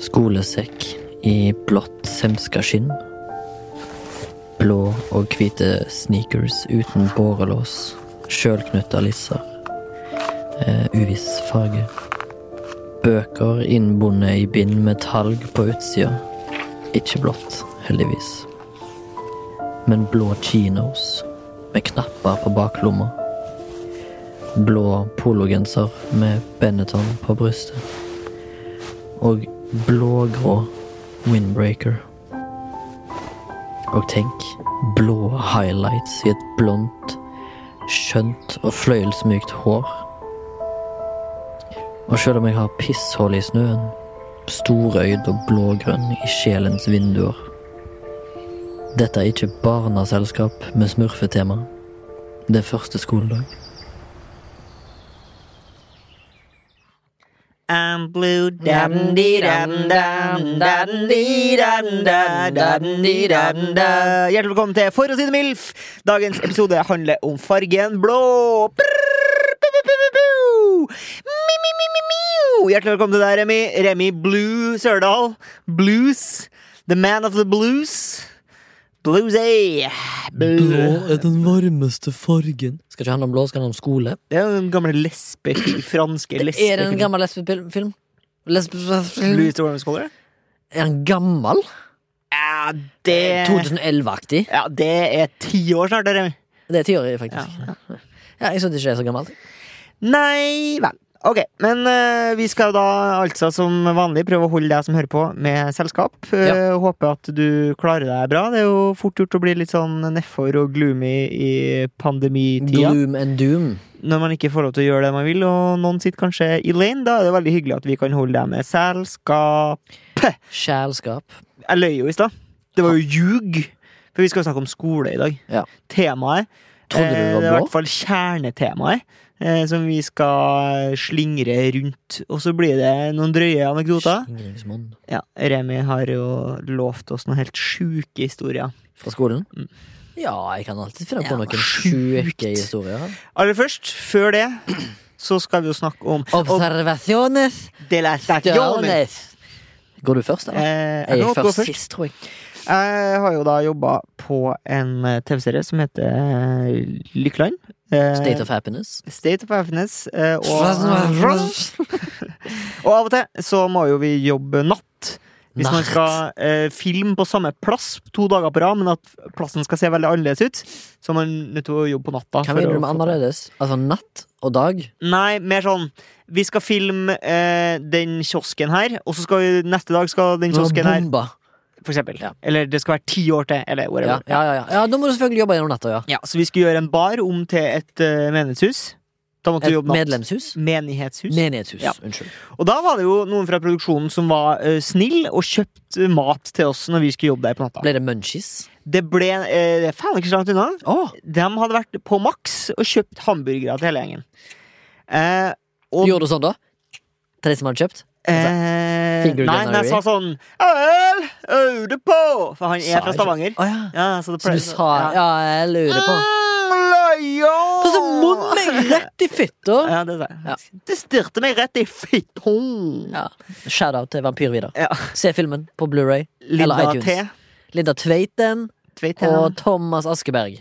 Skolesekk i blått semskaskinn. Blå og hvite sneakers uten bårelås. Sjølknutta lisser. Eh, uviss farge. Bøker innbundet i bind med talg på utsida. Ikke blått, heldigvis. Men blå chinos med knapper på baklomma. Blå pologenser med Benetton på brystet og blågrå windbreaker. Og tenk, blå highlights i et blondt, skjønt og fløyelsmykt hår. Og selv om jeg har pisshull i snøen, storøyd og blågrønn i sjelens vinduer. Dette er ikke barneselskap med smurfetema. Det er første skoledag. I'm blue Dam-di-dam-dam-dam-di-dam-da-dam-di-dam-da. Hjertelig velkommen til For å si det MILF. Dagens episode handler om fargen blå. Prrr, pu, pu, pu, pu, pu. Mi, mi, mi, mi, miu. Hjertelig velkommen til deg, Remi. Remi Blue Sørdal. Blues. The man of the blues. eh. Bluesy. Blue. er den varmeste fargen. Skal ikke handle om blå, skal handle om skole. Det er jo den gamle lesbe... franske lesbe... Er det en gammel lesbefilm? Lesbefilm? Louis the Worm Scholar? Er han gammel? Ja, Eh, det 2011-aktig. Ja, det er ti år snart, det, Remi. Det er tiåret, faktisk. Ja, Jeg syns ikke det er så gammelt. Nei vel. Ok, men eh, vi skal da altså som vanlig prøve å holde deg som hører på, med selskap. Eh, Håper at du klarer deg bra. Det er jo fort gjort å bli litt sånn nedfor og gloomy i pandemitida. Gloom and doom. Når man ikke får lov til å gjøre det man vil, og noen sitter kanskje i lane, da er det veldig hyggelig at vi kan holde deg med selskap. Kjælskap. Jeg løy jo i stad. Det var jo ljug. For vi skal jo snakke om skole i dag. Ja. Temaet Trodde du det eh, var er i blå? hvert fall kjernetemaet eh, som vi skal slingre rundt. Og så blir det noen drøye anekdoter. Slingringsmonn. Ja, Remi har jo lovt oss noen helt sjuke historier. Fra skolen? Ja, jeg kan alltid finne på Mm. Ja, noen sjukt. sjuke historier. Aller først, før det, så skal vi jo snakke om Observasjones de la stagione. jones. Går du først, eller? Eh, jeg Jeg kan gikk godt gå først først. sist, tror jeg. Jeg har jo da jobba på en eh, TV-serie som heter eh, Lykkeland. Eh, State of happiness. State of Happiness. eh, Og, og av og til så må jo vi jobbe natt. Hvis man Natt. skal eh, filme på samme plass to dager på rad, men at plassen skal se veldig annerledes ut, så er man nødt til å jobbe på natta. Hva for mener å du med få- annerledes? Altså natt og dag? Nei, mer sånn Vi skal filme eh, den kiosken her, og så skal vi neste dag skal den Når kiosken her bomba. For eksempel. Ja. Eller det skal være ti år til, eller Ja, whatever. ja, ja, ja. ja, da må du selvfølgelig jobbe gjennom natta, ja. Ja, så vi skulle gjøre en bar om til et eh, menighetshus. Da måtte vi Et jobbe natt. medlemshus? Menighetshus. Menighetshus. Ja. Unnskyld. Og da var det jo noen fra produksjonen som var eh, snill og kjøpte mat til oss når vi skulle jobbe der på natta. Ble det munchies? Det ble eh, det er faen ikke så langt unna. Åh, De hadde vært på Max og kjøpt hamburgere til hele gjengen. Eh, og, gjorde du sånn, da? Til de som hadde kjøpt? eh, finger Nei, gunner men jeg sa sånn Øl! Øde på! For han er Sa fra jeg- Stavanger. Å ja. Ja, så, det Så du pleier- sa Ja, jeg lurer på. Mm, løya! Og så munn liksom. meg rett i fitta! Ja, det sa jeg. Det styrte meg rett i fitten. Ja. Shout-out til Vampyr-Vidar. Ja. Se filmen på Blu-ray eller Linda iTunes. T. Linda Tveiten Tveit og Thomas Askeberg.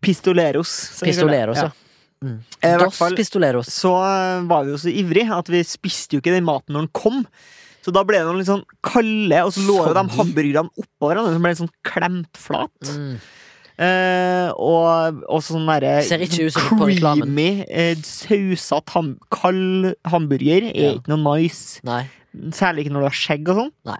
Pistoleros. som vi kaller det. Pistoleros, ja. Mm. Eh, i hvert Dos fall- Pistoleros. så eh, var vi jo så ivrig at vi spiste jo ikke den maten når den kom. Så da ble det noen litt sånn kalde, og så lå jo de Fordi- hamburgerne oppå hverandre. Som ble litt sånn klemt flat. Sånn. Mm. Eh, og, og sånn derre Ser ikke ut som på reklamen. creamy, eh, sausete, ham, kald hamburger er Ja. ikke noe nice. Nei. Særlig ikke når du har skjegg og sånn. Nei.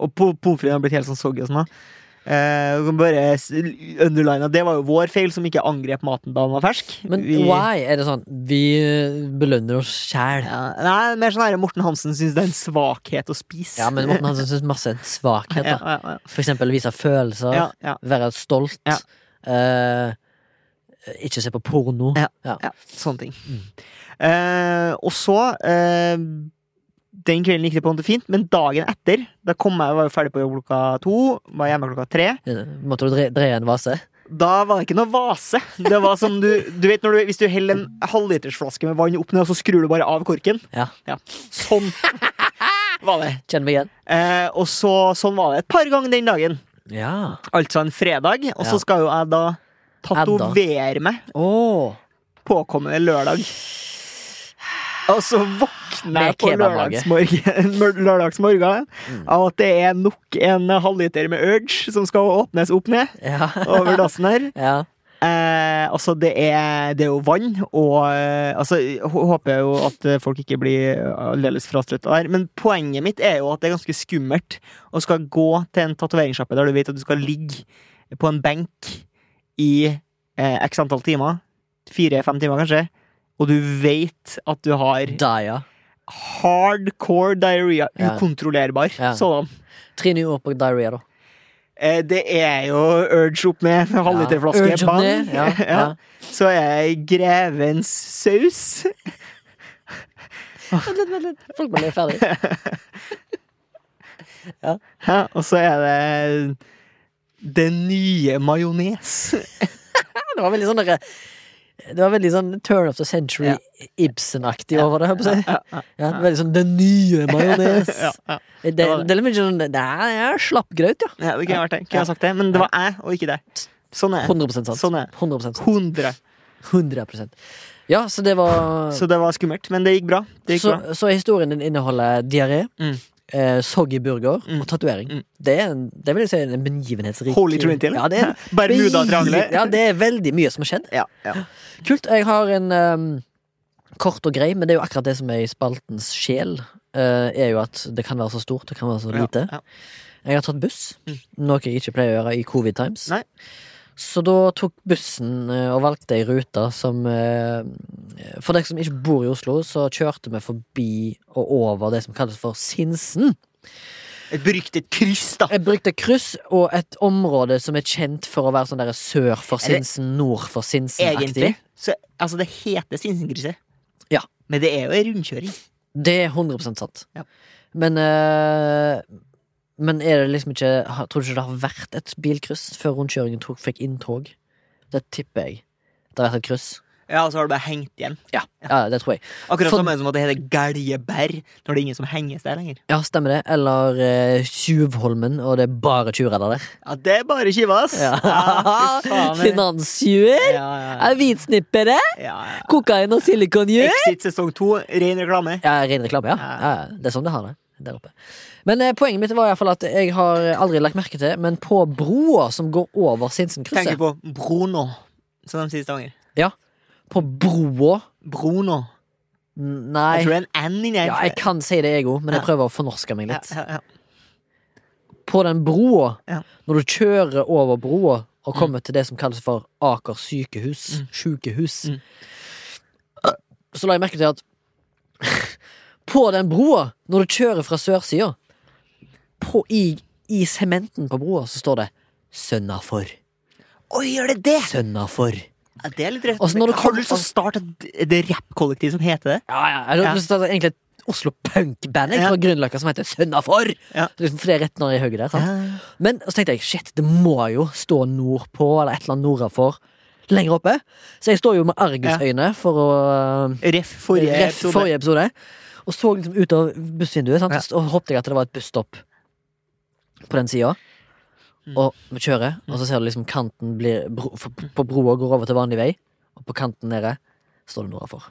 Og po- pommes fritesen har blitt helt sånn soggy og sånn. da. Eh, du kan bare s- underline at det var jo vår feil som ikke angrep maten da den var fersk. Men Vi- why? Er det sånn Vi belønner oss sjæl. Ja, nei, mer sånn her Morten Hansen syns det er en svakhet å spise. Ja, men Morten Hansen syns masse er en svakhet. ja, da ja, ja. For eksempel vise følelser. ja, ja. Være stolt. Ja. eh, ikke se på porno. Ja. Ja, sånne ting. Eh, og så eh, Den kvelden gikk det på en måte fint, men dagen etter Da kom jeg, var jeg ferdig på jobb klokka to, var hjemme klokka tre. Måtte du dre- dreie en vase? Da var det ikke noe vase. Det var som du, du vet når du, Hvis du heller en halvlitersflaske med vann opp ned, og så skrur du bare av korken. Ja. Sånn var det. Kjenner meg igjen. Eh, og så, sånn var det et par ganger den dagen. Ja. Altså en fredag. Og Ja. så skal jo jeg da tatovere meg Åh påkommende lørdag. Og så våkner jeg Med på kebabmage. lørdagsmorgen lørdagsmorgen av at det er nok en halvliter med Urge som skal åpnes opp ned Ja. over dassen her. ja. Eh, altså, det er, det er jo vann, og eh, altså, jeg hå- håper jeg jo at eh, folk ikke blir aldeles frastrøtta der. Men poenget mitt er jo at det er ganske skummelt å skal gå til en tatoveringssjappe der du vet at du skal ligge på en benk i eh, x antall timer, fire-fem timer kanskje, og du vet at du har Daya. hardcore diaré, Ja. ukontrollerbar Ja. sådan. Tre nye ord på diaré, da. Eh, det er jo urge opp ned, halvliterflaske, Urge opp bang. ned. Ja. Ja. Ja. Så er jeg grevens saus. Vent litt, vent litt. Folk må bli ferdig. Hæ? Og så er det den nye majones. Det var veldig sånn derre det var veldig sånn turn of the century Ja. Ibsen-aktig over det. Håper jeg. på å si. Ja, veldig sånn den nye majones. Ja, ja. Det, det var det. er litt mye sånn Det er slappgrøt, ja. ja, det kunne vært det. Kunne jeg sagt det. Men det var jeg, og ikke deg. Sånn er det. 100 sant. Sånn er det. 100 sant. 100. 100 Ja, så det var Så det var skummelt, men det gikk bra. Det gikk Så, bra. så historien din inneholder diaré, Mm. eh, soggy burger Mm. og tatovering. Mm. Det, er en- det vil jeg si er en begivenhetsrik Holy Trinity, eller? Ja, det er, en Bermudatriangelet. begiv- ja, det er veldig mye som har skjedd. Ja, ja. Kult. Jeg har en ehm, kort og grei, men det er jo akkurat det som er i spaltens sjel. eh, er jo at det kan være så stort, det kan være så lite. Ja, ja. Jeg har tatt buss, noe jeg ikke pleier å gjøre i covid times. Mm. Nei. Så da tok bussen eh, og valgte ei rute som eh, For dere som ikke bor i Oslo, så kjørte vi forbi og over det som kalles for Sinsen. Et beryktet kryss, da. Jeg brukte kryss og et område som er kjent for å være sånn der sør for Er det- Sinsen, nord for Sinsen-aktig. Egentlig. Så, altså, det heter Sinsenkrysset. Ja. Men det er jo ei rundkjøring. Det er 100 sant. Ja. Men eh, Men er det liksom ikke har- Tror du ikke det har vært et bilkryss før rundkjøringen tok, fikk inntog? Det tipper jeg. Det har vært et kryss. Ja, og så har du bare hengt igjen. Ja, det tror jeg. Akkurat For- som en som at det heter Galjeberg, når det er ingen som henges der lenger. Ja, stemmer det. Eller eh, Tjuvholmen, og det er bare tjuvredder der. Ja, det er bare skiva, ass. Ja. Ah, fy faen, det- Finanstjuver, ja, ja, er hvitsnippere, ja, ja. kokain og silikonjur. Exit sesong to, ren reklame. Ja, ren reklame, ja. Ja. ja. ja, Det er sånn det har det. Der oppe. Men eh, poenget mitt var i hvert fall at jeg har aldri lagt merke til, men på broa som går over Tenker Sinsenkrysset på Bruno, som de sier i Stavanger. På broa Bruno. N- Jeg Nei. tror det er en N inni her. Ja, jeg kan si det, jeg òg, men jeg Ja. prøver å fornorske meg litt. Ja, ja, ja. På den broa, Ja. når du kjører over broa og kommer til det som kalles for Aker sykehus, Mm. sjukehus, Mm. så la jeg merke til at på den broa, når du kjører fra sørsida, på- i, i sementen på broa, så står det 'Sønnafor'. Oi, gjør det det? Sønnafor. Ja, Altså, det sånn- er litt rett. Og så når du har kom- du lyst til å starte et det rappkollektiv som heter det? Ja, ja. Jeg Ja. har lyst til å ta egentlig et Oslo Punk-band jeg, fra Ja. Grünerløkka som heter Sønnafor. Ja. Liksom, for det er rett når jeg hugger der. Sant? Ja. Men så tenkte jeg shit, det må jo stå nordpå eller et eller annet nordafor. Lenger oppe. Så jeg står jo med argusøyne for å eh, Ref forrige Ref episode. forrige episode. Og så liksom ut av bussvinduet, sant? Ja. og håpte jeg at det var et busstopp på den sida. Mm. Og vi kjører, og så ser du liksom kanten blir bro, f- På broa går over til vanlig vei, og på kanten nede står det nordafor.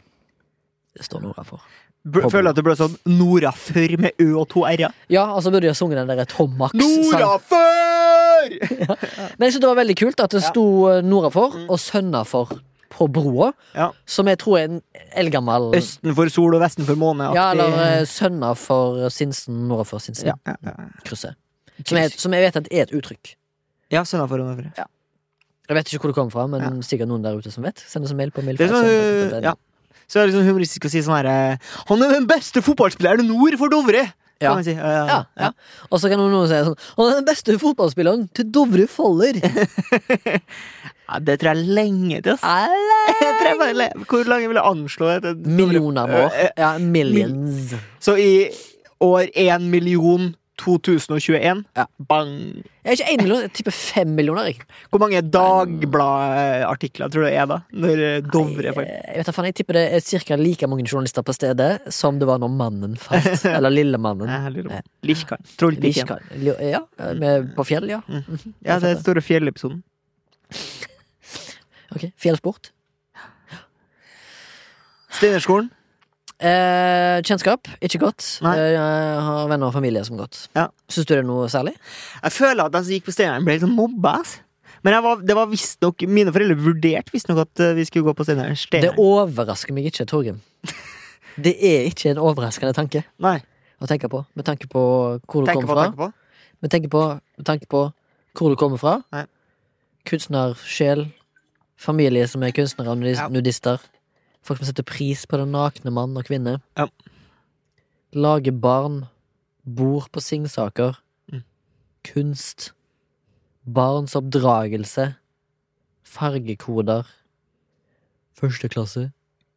Det står nordafor. B- Føler at du ble sånn Norafør med Ø og to R-er. Ja, og så burde de ha sunget den der Tom Max-sangen. Norafør! Men jeg synes det var veldig kult at det Ja. Mm. sto eh, nordafor og sønnafor på broa, Ja. som jeg tror er en eldgammel Østen for sol og vesten for måne. Ja, eller eh, sønnafor Sinsen, nordafor ja, Sinsen-krysset. ja, ja. Som, jeg- som jeg vet at er et uttrykk. Ja, søndag foran og før. Jeg vet ikke hvor det kom fra, men sikkert noen der ute som vet. Send oss en mail på Det er sånn, milf.no. uh, ja. Så er det sånn humoristisk å si sånn herre Han er den beste fotballspilleren nord for Dovre! Ja. Kan man si. Ja, ja, Ja, ja. Og så kan noen si sånn Han er den beste fotballspilleren til Dovre Faller. Ja, det tror jeg er lenge til, Ah. ass. Jeg tror jeg bare le- Hvor lange vil jeg anslå det? til? Millioner av Eh, år. Ja, millions. Så i år 1 million 2021 Ja. Bang! Jeg er ikke én million, jeg tipper fem millioner. Jeg, Hvor mange Dagbladet-artikler tror du det er da? Når eh, Dovre jeg, falt? jeg vet da faen, jeg tipper det er cirka like mange journalister på stedet som det var når mannen falt. Eller lille mannen. Eh, lurer på. Lirkan. Trollpikken. Lishkan. Li- Ja, med, på fjell, ja. Ja, det er den store fjellepisoden. Ok, Fjellsport. Steinerskolen. Eh, kjennskap, ikke godt. Nei. Eh, jeg har venner og familie som godt. Ja. Syns du det er noe særlig? Jeg føler at de som gikk på Steineren, ble litt sånn mobba. ass. Men jeg var, det var visst nok, mine foreldre vurderte visstnok at eh, vi skulle gå på Steineren. Det Steineren. overrasker meg ikke, Torgrim. Det er ikke en overraskende tanke Nei. å tenke på, med tanke på hvor du Tenker kommer på, fra. tenker på. Med tanke på, med tanke på hvor du kommer fra. Nei. Kunstnersjel. Familie som er kunstnere og nudis- Ja. nudister. Folk som setter pris på den nakne mann og kvinne. Ja. Lager barn. Bor på Singsaker. Mm. Kunst. Barns oppdragelse. Fargekoder. Første klasse.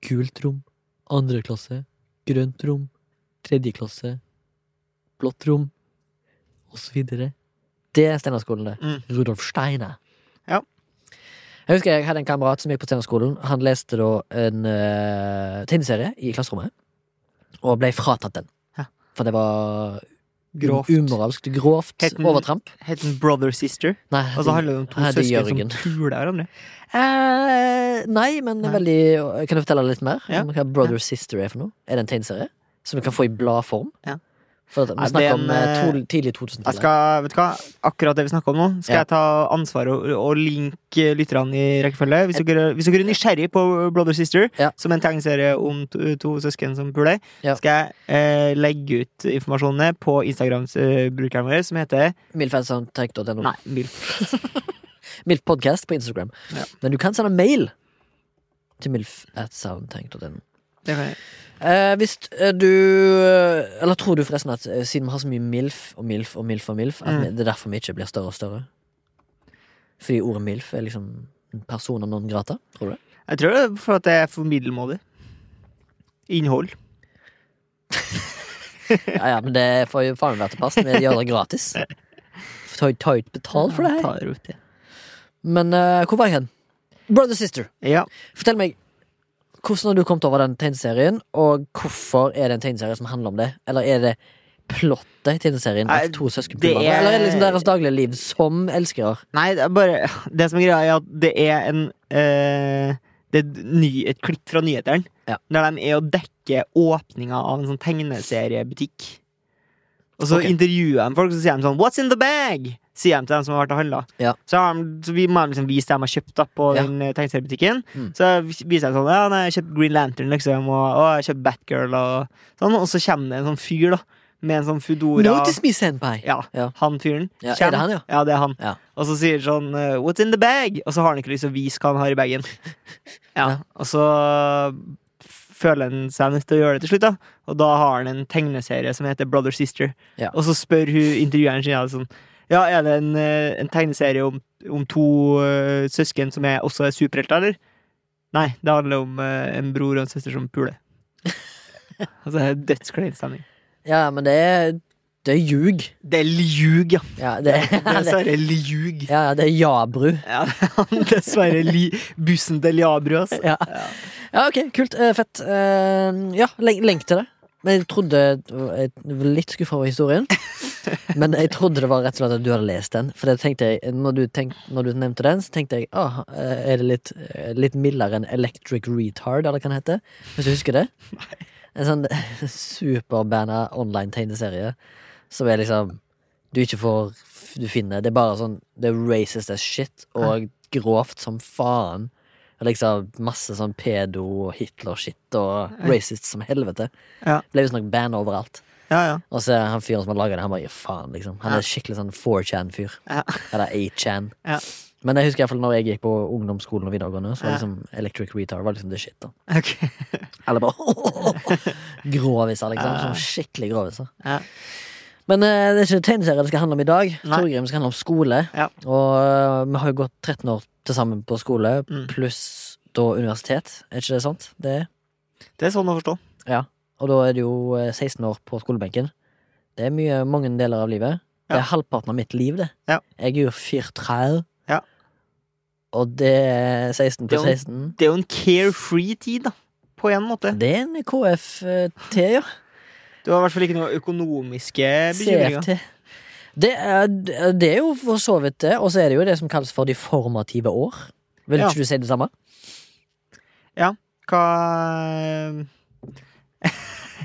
Gult rom. Andre klasse. Grønt rom. Tredje klasse. Blått rom. Og så videre. Det er Steinerskolen, det. Mm. Rudolf Steiner. Ja. Jeg husker jeg hadde en kamerat som gikk på Steinerskolen. Han leste da en uh, tegneserie i klasserommet, og ble fratatt den. Ja. For det var Grovt. umoralsk, grovt Het den- overtramp. Het den Brother Sister. Nei, Og så handler det om to Nei, det er Jørgen. søsken som puler hverandre. Eh, nei, men Nei. veldig Kan du fortelle litt mer Ja. om hva Brother Sister er for noe? Er det en tegneserie som du kan få i bladform? Ja. For at, Ja, vi det er snakker en, om eh, to, tidlig 2000 Jeg skal, vet du hva, Akkurat det vi snakker om nå, skal Ja. jeg ta ansvar og, og linke lytterne i rekkefølge. Hvis dere, hvis dere er nysgjerrig på Brother Sister, Ja. som er en tegneserie om to, to søsken som puler, Ja. skal jeg eh, legge ut informasjonene på Instagram-brukeren vår, som heter Milfadsoundtech.no. Nei, Milf. Milf Podcast på Instagram. Ja. Men du kan sende mail til milf at soundtank.no. Det kan jeg- Eh, hvis eh, du eh, Eller tror du forresten at eh, siden vi har så mye milf og milf og milf, og milf at Mm. vi, det er derfor vi ikke blir større og større? Fordi ordet milf er liksom persona non grata? Tror du det? Jeg tror det er for at det er for middelmådig. Innhold. Ja, ja, men det får jo faen være til pass. Vi gjør det gratis. Ta ta ut betal for det her. Tar ut det. Men eh, hvor var jeg hen? Brother Sister. Ja. Fortell meg, hvordan har du kommet over den tegneserien, og hvorfor er det en tegneserie som handler om det? Eller er det plottet i tegneserien Nei, at to søsken blir det hverandre? Eller er det liksom er- deres daglige liv som elskere? Nei, det er bare Det som er greia, er at det er en eh, Det er ny, et klipp fra nyhetene. Ja. Der de er og dekker åpninga av en sånn tegneseriebutikk. Og så Ok. intervjuer de folk, så sier de sånn 'What's in the bag?' Sier de til dem som har vært og handla. Ja. Så, har de, så vi må liksom vise dem jeg har kjøpt da, på Ja. den eh, tegneseriebutikken. Mm. Så viser de sånn 'Ja, nei, jeg har kjøpt Green Lantern', liksom, og, og 'jeg har kjøpt Batgirl', og sånn. Og så kommer det en sånn fyr, da, med en sånn Foodora. Notice me, senpai! Ja, Ja. han fyren. Ja, er Kjem. det han, ja? det er han. Ja. Og så sier sånn eh, 'What's in the bag?' Og så har han ikke lyst til å vise hva han har i bagen. Ja. Ja. Og så føler han seg nødt til å gjøre det til slutt, da. Og da har han en tegneserie som heter Brother Sister. Ja. Og så spør hun intervjueren sin ja, sånn Ja, er det en, eh, en tegneserie om, om to eh, søsken som er, også er superhelter, eller? Nei, det handler om eh, en bror og en søster som puler. altså, det er dødsklein stemning. Ja, men det er, det er ljug. Det er ljug, ja. Ja, det er, Det er det, dessverre ljug. ja, det er jabru. Ja, dessverre li bussen til Liabru, altså. Ja. ja, ok, kult. eh, fett. Eh, ja, lenk, lenk til det. Men jeg trodde Jeg var litt skuffa over historien. Men jeg trodde det var rett og slett at du hadde lest den. For det tenkte jeg Når du, tenk, når du nevnte den, så tenkte jeg ah, eh, Er det litt, eh, litt mildere enn Electric Retard, eller hva det heter? Hvis du husker det? En sånn superbanna online-tegneserie som er liksom Du ikke får Du finner Det er bare sånn Det er racist as shit og grovt som faen. Og liksom masse sånn pedo og Hitler-shit og racist som helvete. Ja. Ble visstnok sånn band overalt. Ja, ja. Og så er han fyren som har laga det, han bare gir faen, liksom. Han Ja. er skikkelig sånn 4chan-fyr. Ja. Eller 8chan. Ja. Men jeg husker i hvert fall når jeg gikk på ungdomsskolen og videregående, så var Ja. liksom Electric Retard var liksom the shit. da Ok. Eller bare Groviser, liksom. Ja. Sånn skikkelig groviser. Ja. Men eh, det er ikke tegneserier det skal handle om i dag. Nei. Torgrim skal handle om skole. Ja. Og eh, vi har jo gått 13 år til sammen på skole, Mm. pluss da universitet. Er ikke det sant? Det er. Det er sånn å forstå. Og da er det jo eh, 16 år på skolebenken. Det er mye, mange deler av livet. Det Ja. er halvparten av mitt liv, det. Ja. Jeg er jo 34. Ja. Og det er 16 Det på er jo- 16. Det er jo en carefree tid, da. På en måte. Det er en KFT, ja. Du har i hvert fall ikke noen økonomiske bekymringer. CFT. Det er, det er jo for så vidt det, og så er det jo det som kalles for de formative år. Vil Ja. ikke du si det samme? Hva eh,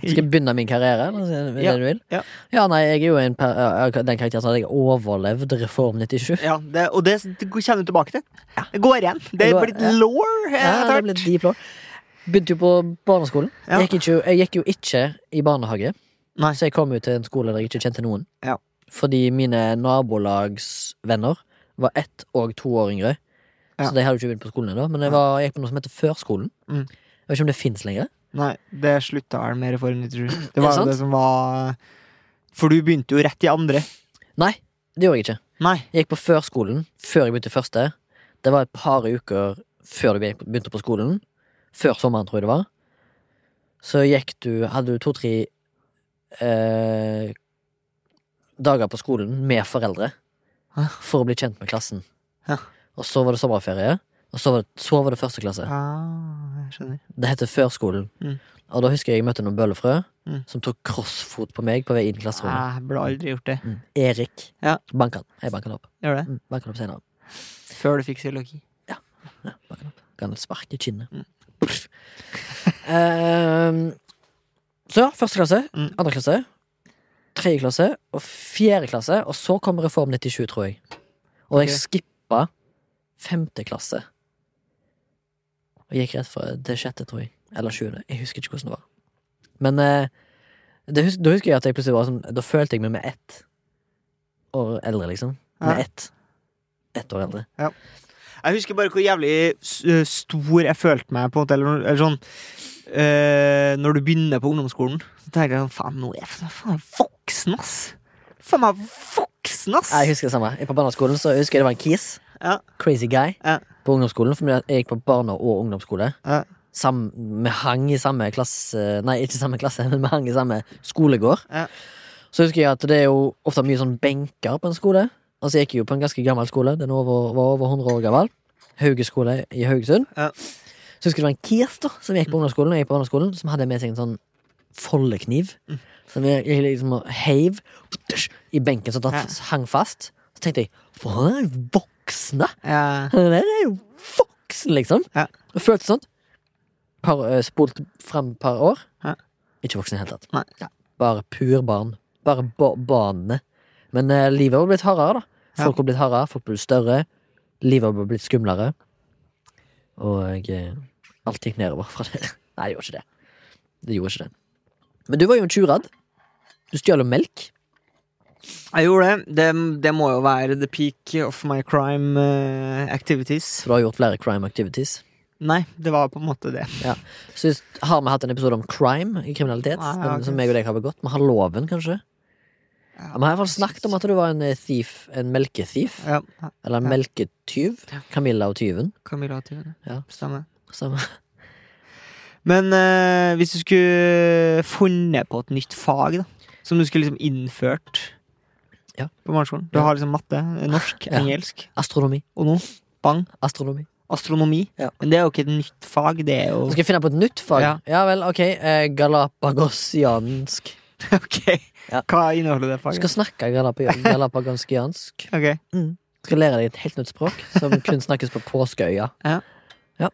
Skal jeg begynne min karriere? Eller, er det Ja, det du vil? ja. Ja, nei, jeg er jo en per, ja, den karakteren som at jeg overlevde Reform 97. Ja, det, og det det kommer du tilbake til. Det går igjen. Det Det er går- blitt ja. Ja, law det etter ble hvert. deep law. Begynte jo på barneskolen. Ja. Jeg, gikk ikke, jeg gikk jo ikke i barnehage, Nei. så jeg kom jo til en skole der jeg ikke kjente noen. Ja. Fordi mine nabolagsvenner var ett og to år yngre, Ja. så de hadde jo ikke begynt på skolen ennå. Men jeg, var, jeg gikk på noe som heter Førskolen. Mm. Jeg vet ikke om det fins lenger. Nei, det slutta vel med Reform 97. det Det var jo sant? det som var For du begynte jo rett i andre. Nei, det gjorde jeg ikke. Nei. Jeg gikk på førskolen før jeg begynte i første. Det var et par uker før du begynte på skolen. Før sommeren, tror jeg det var. Så gikk du Hadde du to-tre eh, dager på skolen med foreldre Hæ? for å bli kjent med klassen. Ja. Og så var det sommerferie, og så var det, så var det første klasse. Ah, jeg skjønner. Det heter Førskolen. Mm. Og da husker jeg jeg møtte noen bøllefrø Mm. som tok crossfot på meg på vei inn i klasserommet. Jeg burde aldri gjort det. Mm. Erik. Ja. Banka han. Jeg banka han opp. Gjør det. Mm. Banka han opp senere. Før du fikk psykologi. Bakken opp. Kan sparke i kinnet. Mm. Pff. Ehm, så ja, første klasse, Mm. andre klasse, tredje klasse og fjerde klasse. Og så kom Reform 97, tror jeg. Og jeg Ok. skippa femte klasse. Og gikk rett fra til sjette, tror jeg. Eller sjuende. Jeg husker ikke hvordan det var. Men eh, det hus da husker jeg at jeg plutselig var sånn Da følte jeg meg med ett år eldre, liksom. Ja. Med ett. Ett år eldre. Jeg husker bare hvor jævlig s- øh, stor jeg følte meg, på en måte. Eller, eller sånn øh, Når du begynner på ungdomsskolen, så tenker jeg sånn Faen, nå er jeg faen- faen meg voksen, ass! Faen meg voksen, ass! Nei, Jeg husker det samme. Jeg på barneskolen så husker jeg det var en kis. Ja. Crazy guy. Ja. På ungdomsskolen, for jeg gikk på barne- og ungdomsskole. Ja. Sam, vi hang i samme klasse Nei, ikke samme klasse, men vi hang i samme skolegård. Ja. Så husker jeg at det er jo ofte mye sånn benker på en skole. Og så gikk Altså, jeg jo på en ganske gammel skole. Den over, var over 100 år gammel. Hauge skole i Haugesund. Ja. Mm. Så husker jeg det var en kis da som gikk på ungdomsskolen, og jeg gikk på barneskolen, som hadde med seg en sånn foldekniv. Mm. Som jeg jeg liksom heiv i benken, sånn at han Ja. f- hang fast. Så tenkte jeg faen, han er voksne! Ja. Han der er jo voksen, liksom. Ja. Og følte sånn. Par, eh, spolt fram par år. Ja. Ikke voksen i det hele tatt. Nei. Bare pur barn. Bare ba barnene. Men eh, livet har blitt hardere, da. Folk har blitt hardere, folk har blitt større. Livet har blitt skumlere. Og eh, alt gikk nedover fra det. Nei, det gjorde ikke det. Det gjorde ikke det. Men du var jo en tjuradd. Du stjal jo melk. Jeg gjorde det. det. Det må jo være the peak of my crime eh, activities. For du har gjort flere crime activities. Nei, det var på en måte det. Så har vi hatt en episode om crime, kriminalitet, Nei, jeg har den, som ikke. jeg og deg har begått. Vi har loven, kanskje. Vi har i hvert fall snakket om at du var en eh, thief, en melkethief, Ja, eller en Ja. melketyv. Camilla og tyven. Camilla og Tyven. Ja. Stemmer. Samme. Men eh, hvis du skulle funnet på et nytt fag, da, som du skulle liksom innført Ja. på barneskolen Du Ja. har liksom matte, norsk, Ja. engelsk, Astronomi. og nå bang, Astronomi. astronomi. Ja. Men det er jo ikke et nytt fag, det er jo Nå skal jeg finne på et nytt fag. Ja, Ja. vel, ok. Eh, galapagosiansk. Ok, Ja. hva inneholder det Du skal faget? snakke galapa galapagosiansk. Ok, Du skal lære deg et helt nytt språk, som kun snakkes på påskeøya. Ja. Ja.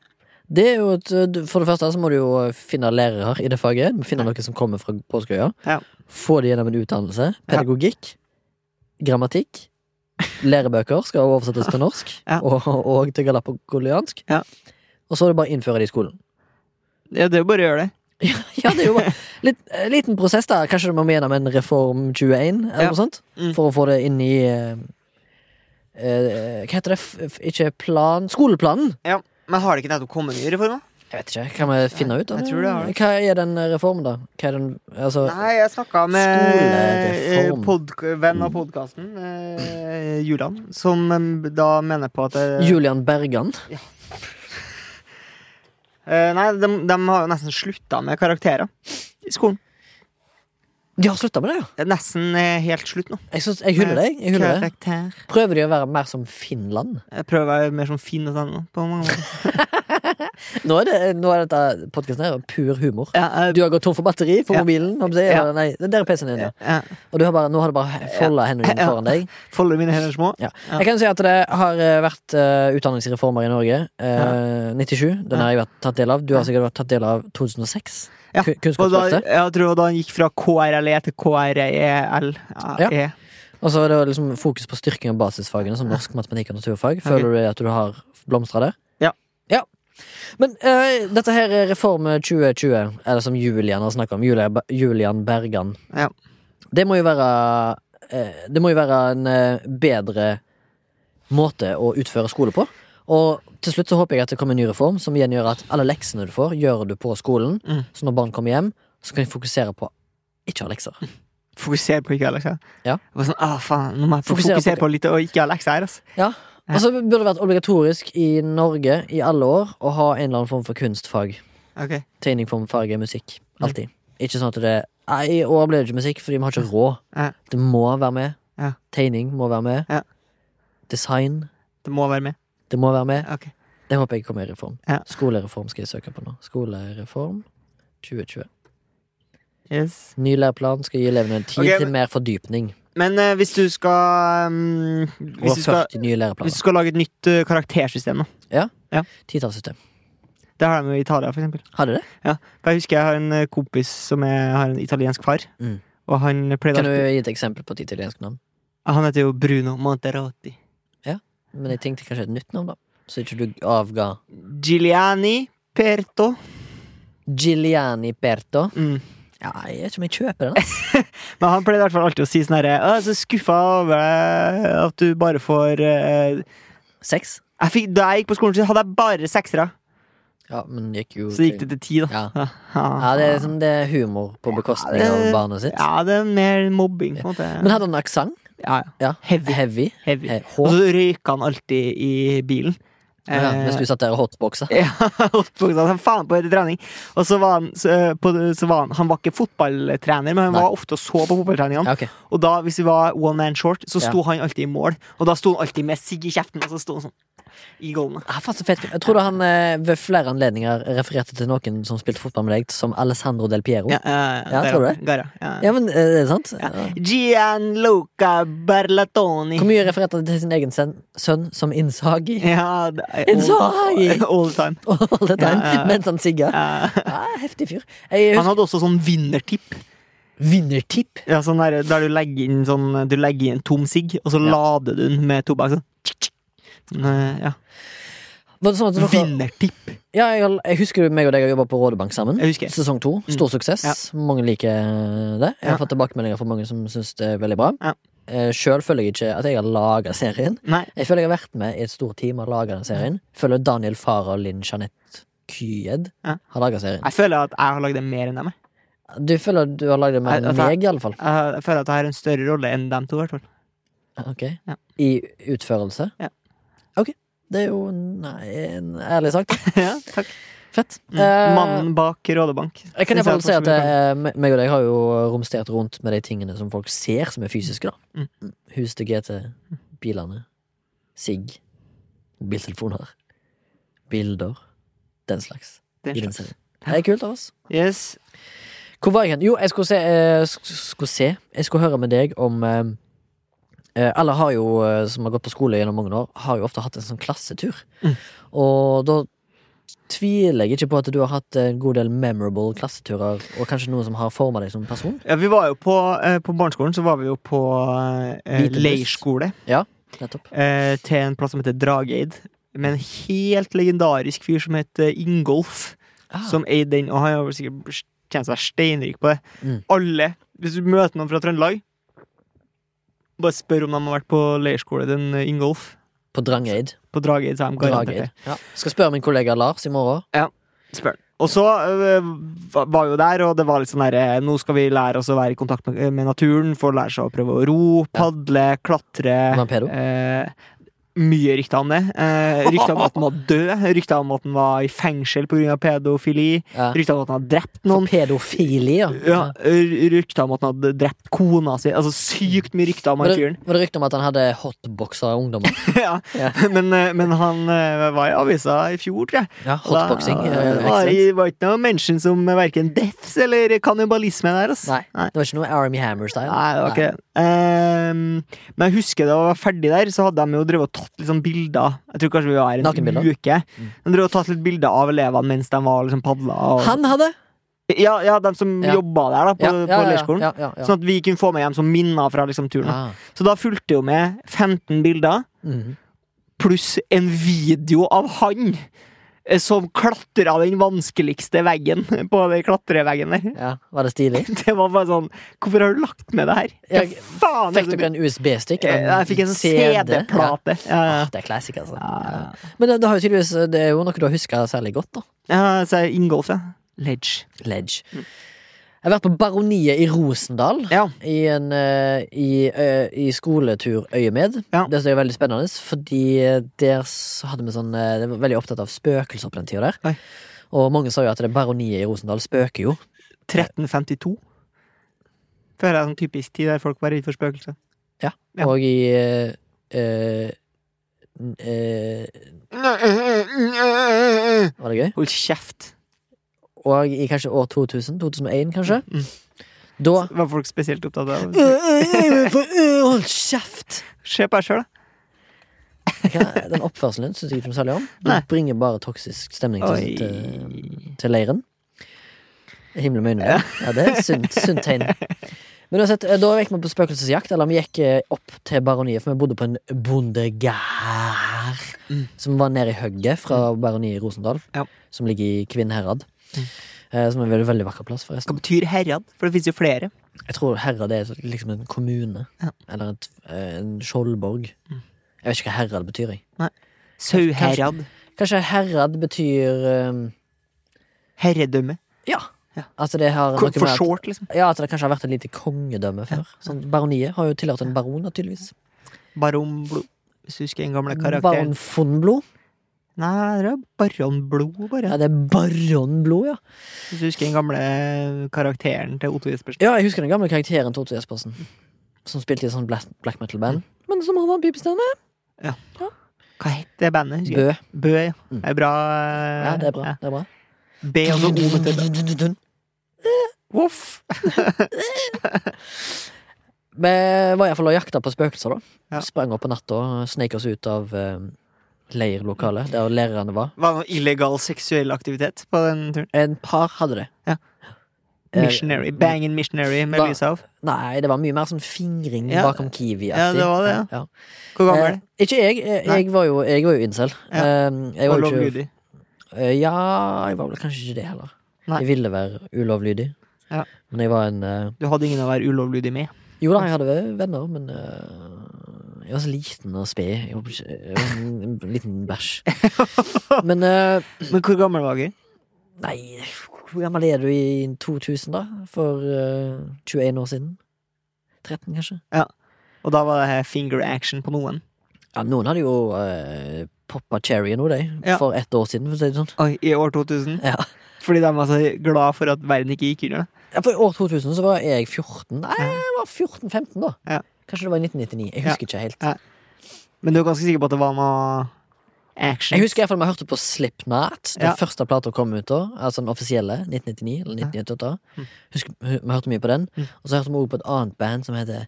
Det er jo et, eh, du- for det første så må du jo finne lærere i det faget. Du må Finne noen som kommer fra påskeøya. Ja. Få de gjennom en utdannelse. Pedagogikk. Grammatikk. Lærebøker skal oversettes til norsk Ja. og, og til galapagoliansk. Ja. Og så er det bare å innføre det i skolen. ja, det er jo bare å gjøre det. Ja, det er jo bare litt, eh, liten prosess der. Kanskje du må gjennom en Reform 21 eller Ja. noe sånt Mm. for å få det inn i eh, eh, Hva heter det? F f ikke plan Skoleplanen? Ja. Men har det ikke nettopp kommet nye reformer? Jeg vet ikke. Kan vi finne ut av Jeg tror det har det. Hva er den eh, reformen, da? Hva er den, altså, Nei, jeg snakka med eh, Skolereform. pod venn av podkasten, eh, Julian, som eh, da mener på at eh, Julian Bergan? eh, Nei, de, de har jo nesten slutta med karakterer i skolen. De har slutta med det, ja! Det er nesten eh, helt slutt nå. Jeg, synes, jeg hyller deg. Jeg hyller det. Karakter. Prøver de å være mer som Finland? Jeg prøver å være mer sånn fin og sånn. På mange måter. Nå er, det, nå er dette podkasten her pur humor. Ja, eh, Du har gått tom for batteri på Ja. mobilen. Om det, Ja. eller, nei, det der er PC-en din, ja. ja. Og du har bare, nå har du bare folda hendene dine Ja. foran deg. Folder mine hender små. Ja. Jeg kan si at det har eh, vært eh, utdanningsreformer i Norge. eh, 97. Den har jeg vært tatt del av. Du har sikkert vært tatt del av 2006. Ja, Kun- Og da, Kunnskapsløftet. jeg tror da han gikk fra KRLE E til KREL. Ja. E. Og så er det liksom fokus på styrking av basisfagene, som norsk, matematikk og naturfag. Føler du at du har blomstra der? Ja. Ja. Men eh, dette her er Reform 2020, eller som Julian har snakka om, Julia, Julian Bergan. Ja. Det må jo være eh, Det må jo være en eh, bedre måte å utføre skole på. Og til slutt så håper jeg at det kommer en ny reform som igjen gjør at alle leksene du får, gjør du på skolen. Mm. Så når barn kommer hjem, så kan de fokusere på ikke å ha lekser. Fokusere på ikke ha lekser. Ja. Jeg var sånn, ah, faen, nå må jeg Fokusere fokusere, på på, litt og ikke ha lekser her. Altså. Ja, og så burde det vært obligatorisk i Norge i alle år å ha en eller annen form for kunstfag. Ok. Tegning, form, farge, musikk. Alltid. Ikke sånn at det Nei, I år ble det ikke musikk, fordi vi har ikke råd. Ja. Det må være med. Ja. Tegning må være med. Ja. Design. Det må være med. Det må være med. Ok. Det håper jeg kommer i reform. Ja. Skolereform skal jeg søke på nå. Skolereform 2020. Yes. Ny læreplan skal gi elevene tid Ok, til mer fordypning. Men eh, hvis du skal mm, hvis, Og du skal 40 nye hvis du læreplaner. skal lage et nytt eh, karaktersystem, da. Titallssystem. Det har de jo i Italia, for eksempel. Har dere det? For jeg husker jeg har en eh, kompis som er, har en italiensk far. Mm. Og han pleide Kan du alltid gi et eksempel på et italiensk navn? Han heter jo Bruno Monterotti. Men jeg tenkte kanskje et nytt navn, da. Så ikke du avga Giuliani Perto. Giuliani Berto. Mm. Ja, jeg vet ikke om jeg kjøper den. ass. Men han pleier i hvert fall alltid å si sånn herre «Å, Jeg er så skuffa over deg at du bare får eh, Seks? jeg fikk, Da jeg gikk på skolen, så hadde jeg bare seksere. Ja, men det gikk jo Så gikk det til ti, da. Ja. Ja, ja, det er liksom det er humor på bekostning Ja, av det- barnet sitt. Ja, det er mer mobbing, på en måte. Men hadde han aksent? ja, ja. Ja. Heavy. Heavy. Heavy. Eh, Og H. så røyka han alltid i bilen. Ja, Eh, mens du satt der og hotboxa. Ja, holdt på sånn, faen på etter trening. Og så var han så, eh, på, så var han, han var ikke fotballtrener, men han Nei. var ofte og så på fotballtreningene. Ja, ok. Og da, hvis vi var one man short, så Ja. sto han alltid i mål. Og da sto han alltid med sigg i kjeften, og så sto han sånn i goalene. Ja, Ah, faen, så fett. Jeg tror da han eh, ved flere anledninger refererte til noen som spilte fotball med deg, som Alessandro Del Piero. Ja, Ja, eh, Ja, der tror du var- det? Gara, ja. men eh, er det sant? Ja. Gianluca Berlatoni. Hvor mye refererte han til sin egen sen- sønn som innsagi? Ja, det er Inzaghi! all, all time. All the time, Ja, ja, ja. mens han sigga. Eh, Ja, heftig fyr. Jeg han husker hadde også sånn vinnertipp. vinnertipp. Ja, sånn der, der du legger inn sånn Du legger inn en tom sigg, og så lader du den med tobakk. Sånn. Eh, Ja. Var det sånn at dere, Vinnertipp. ja, jeg, jeg husker jo meg og deg har jobba på Rådebank sammen. Jeg husker. Mm. Sesong to. Stor suksess. Mange liker det. Jeg har Ja. fått tilbakemeldinger fra mange som syns det er veldig bra. Ja. Eh, Sjøl føler jeg ikke at jeg har laga serien. Nei. Jeg føler jeg har vært med i et stort team og laga den serien. Føler Daniel Farah og Linn Jeanette Kyed Ja. har laga serien. Jeg føler at jeg har lagd det mer enn dem. jeg. Du føler at du har lagd det mer Nei, altså- enn at jeg- meg, iallfall. Jeg jeg føler at jeg har en større rolle enn dem to. i hvert fall. Ok. Ja. I utførelse? Ja. Ok. Det er jo nei, en ærlig sak. da. ja, takk. Fett. Mm. Eh, Mannen bak Rådebank. Jeg kan i Synes hvert fall si jeg at har fått så mye kred. eh, me- meg og deg har jo romstert rundt med de tingene som folk ser som er fysiske, da. Mm. Hus til GT, bilene, sigg, mobiltelefoner, bilder, den slags. Den I den slags. serien. Det er kult av oss. Yes. Hvor var jeg hen? Jo, jeg skulle se, eh, sk- skulle se Jeg skulle høre med deg om eh, eh, Alle har jo, eh, som har gått på skole gjennom mange år, har jo ofte hatt en sånn klassetur. Mm. Og da tviler jeg ikke på at du har hatt en god del memorable klasseturer, og kanskje noe som har forma deg som person. Ja, vi var jo på, eh, på barneskolen så var vi jo på eh, Hvitebuss. leirskole Nettopp. eh, til en plass som heter Drageid. Med en helt legendarisk fyr som het eh, Ingolf. Ah. som eide den, og han har vel sikkert tjent seg steinrik på det. Mm. Alle, hvis du møter noen fra Trøndelag, bare spør om de har vært på leirskole til en, eh, Ingolf. På Drangeid. På Drageid, så er de garantert det. Drageid. Ja. Skal spørre min kollega Lars i morgen. Spør. Og så øh, va- var jo der, og det var litt sånn derre Nå skal vi lære oss å være i kontakt med, øh, med naturen, for å lære seg å prøve å ro, padle, klatre Var han pedo? eh, Mye rykter om det. Eh, rykter om at han var død, rykter om at han var i fengsel pga. pedofili, Ja. rykter om at han hadde drept For noen. pedofili, ja. Ja, r- rykter om at han hadde drept kona si. Altså sykt mye rykter om Var han det, fyren. var det rykte om at han hadde hotboxer av ungdommer? ja. Ja. men, eh, men han eh, var i avisa i fjor, tror jeg. Ja, hotboxing. Da, eh, det var- excellent. Det var ikke noe mennesken som verken deaths eller kannibalisme der, ass. Nei, det var ikke noe Army Hammer-style. Nei, det var ikke det. Ehm, men jeg husker da jeg var ferdig der, så hadde de jo drevet og tatt litt sånn bilder. Jeg tror kanskje vi var her Nakenbilder? Mm. en uke. De drev og tatt litt bilder av elevene mens de var liksom padla. Og... Han hadde! Ja, ja, de som Ja. jobba der, da, på, Ja, ja, ja, på leirskolen. Ja, ja, ja. Sånn at vi kunne få med hjem som minner fra liksom, turen. Ah. Så da fulgte jo med 15 bilder. Mhm. pluss en video av han eh, som klatra den vanskeligste veggen på den klatreveggen der. ja. Var det stilig? Det var bare sånn Hvorfor har du lagt med det her? Hva Jeg- faen? er Fikk det dere som- en USB-stikk? Eh, Jeg fikk en CD-plate. Ja. Ja. Ja. Ah, det er classic, altså. ja. Ja. Men det, det, har jo tydeligvis, eh, det er jo noe du har huska særlig godt, da. Ja, så jeg Ingolf, ja. Ledge. Ledge. Jeg har vært på Baroniet i Rosendal. Mm. Ja. I, en, eh, i, eh, i skoleturøyemed. Ja. Det som er veldig spennende, fordi eh, der s- hadde vi sånn eh, Jeg var veldig opptatt av spøkelser på den tida der. Oi. Og mange sa jo at det Baroniet i Rosendal spøker jo. 1352. Føler jeg er sånn typisk tid der folk var redd for spøkelser. Ja. Og i eh, eh, n- eh, Var det gøy? Hold kjeft. Og i kanskje år 2000? 2001, kanskje? Da Var folk spesielt opptatt av Eh, Hold kjeft! Se på deg sjøl, da. Den oppførselen din syns jeg ikke noe særlig om. Du Nei. bringer bare toksisk stemning til, til, Oi. til leiren. Himmel med øynene. Ja, det er et sunt, sunt tegn. Men uansett, eh, da gikk vi på spøkelsesjakt, eller vi gikk eh, opp til baroniet, for vi bodde på en bondegard som var nede i hugget fra baroniet i Rosendal, Mm. Ja. Mm. som ligger i Kvinnherad. eh, Som er en veldig, veldig vakker plass, forresten. Hva betyr herjad? For det fins jo flere. Jeg tror Herad er liksom en kommune. Eller et, eh, en skjoldborg. Mm. Jeg vet ikke hva Herad betyr. Jeg. Sauherad. Kanskje Herad betyr um, Herredømme. Ja. Ja. At det har noe Ko- For med at- short, liksom. Ja, at det kanskje har vært et lite kongedømme før. Sånn, baroniet har jo tilhørt en baron, naturligvis. Baron Blod. Hvis du husker den gamle Baron karakteren. von Blod. Nei, det er Baron Blod, bare. Ja, det er Baron Blod, ja. Hvis du husker den gamle eh, karakteren til Otto Jespersen. Ja, jeg husker den gamle karakteren til Otto Jespersen. Som spilte i et sånt black, black Mm. metal-band. Men som hadde en pipestemme. Hva het det bandet? husker jeg? Bø. Bø, ja. Mm. Det er bra. Ja, det er bra. Altså, ja. Det er bra. B og så O med til det. Voff. Vi var iallfall og jakta på spøkelser, da. Ja. Sprang opp på natta og snek oss ut av eh, leirlokalet, der lærerne var. Var det noe illegal seksuell aktivitet på den turen? En par hadde det. Ja. Eh, Missionary. Banging Missionary med Hva- lyset av. Nei, det var mye mer sånn fingring Ja. bakom Kiwi-aktig. Ja, det var det, ja. Hvor gammel er Eh, det? ikke jeg. Eh, Nei. Jeg var jo, jeg var jo incel. Ja. Eh, jeg var Og jo ikke, lovlydig. eh, ja, jeg var vel kanskje ikke det heller. Nei. Jeg ville være ulovlydig. Ja. Men jeg var en eh, Du hadde ingen å være ulovlydig med. Jo da, jeg hadde vel venner, men eh, jeg var så liten og sped. Jeg var, ikke- jeg var en en liten bæsj. Men eh, Men hvor gammel var du? Nei, hvor gammel er du i 2000, da? For eh, 21 år siden? 13, kanskje? Og da var det her finger action på noen. Ja, noen hadde jo uh, poppa cherry nå, de. Ja. For ett år siden, for å si det sånn. Oi, I år 2000. Ja. Fordi de var så glad for at verden ikke gikk under. Ja, for i år 2000 så var jeg 14. Nei, jeg var 14-15, da. Ja. Kanskje det var i 1999. Jeg husker ikke helt. Ja. Men du er ganske sikker på at det var noe action? Jeg husker i hvert fall vi hørte på Slipknot. Den Ja. første plata kom ut da. Altså den offisielle. 1999 eller Mm. 1998. Husker, vi hørte mye på den. Og så hørte vi også på et annet band som heter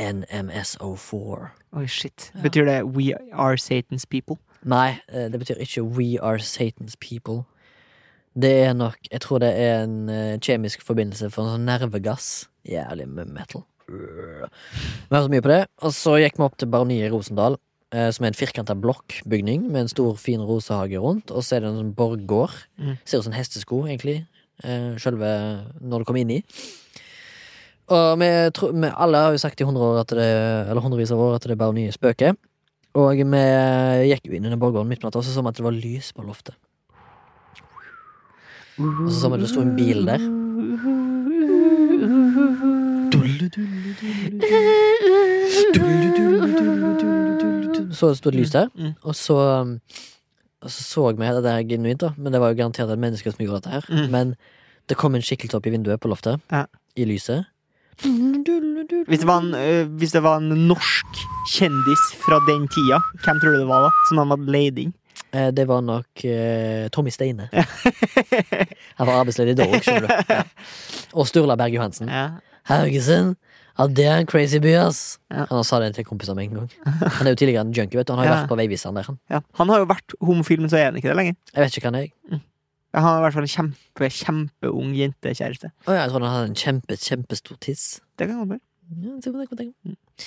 NMSO4. Oi, shit. Betyr det We are Satan's people? Nei, eh, det betyr ikke We are Satan's people. Det er nok Jeg tror det er en eh, kjemisk forbindelse for en sånn nervegass. Jævlig med metal. Vi hørte mye på det. Og så gikk vi opp til Baroniet i Rosendal. eh, som er en firkanta blokkbygning med en stor, fin rosehage rundt. Og så er det en sånn borggård. Mm. Ser ut som en hestesko, egentlig, eh, sjølve når du kommer inn i. Og vi, tro, vi alle har jo sagt i 100 år at det, eller hundrevis av år at det er bare nye spøker. Og vi gikk jo inn i den borggården midt på natta, og så så vi at det var lys på loftet. Og så så vi at det sto en bil der. Så det sto et lys der, Mm, mm. og så um, og så så vi at det er genuint, da, men det var jo garantert et menneske som gjorde dette her. Mm. Men det kom en skikkelse opp i vinduet på loftet, Ja. i lyset. Hvis det, var en, øh, hvis det var en norsk kjendis fra den tida, hvem tror du det var da? Som han hadde leid inn? Eh, Det var nok eh, Tommy Steine. Han var arbeidsledig da òg, skjønner du. Ja. Og Sturla Berg Johansen. Ja. Haugesund! Ja, det er en crazy by, ass! Ja. Han sa det til kompisene med en gang. Han er jo tidligere en junkie, vet du. Han har jo Ja. vært på Veiviseren der, han. Ja. Han har jo vært homofil, men så er han ikke det lenger. Jeg vet ikke hva han er. Han har i hvert fall en kjempe, kjempeung jentekjæreste. Å ja, jeg tror han hadde en kjempe, kjempestor tiss. Det kan godt være. Ja, det kan jeg tenke meg.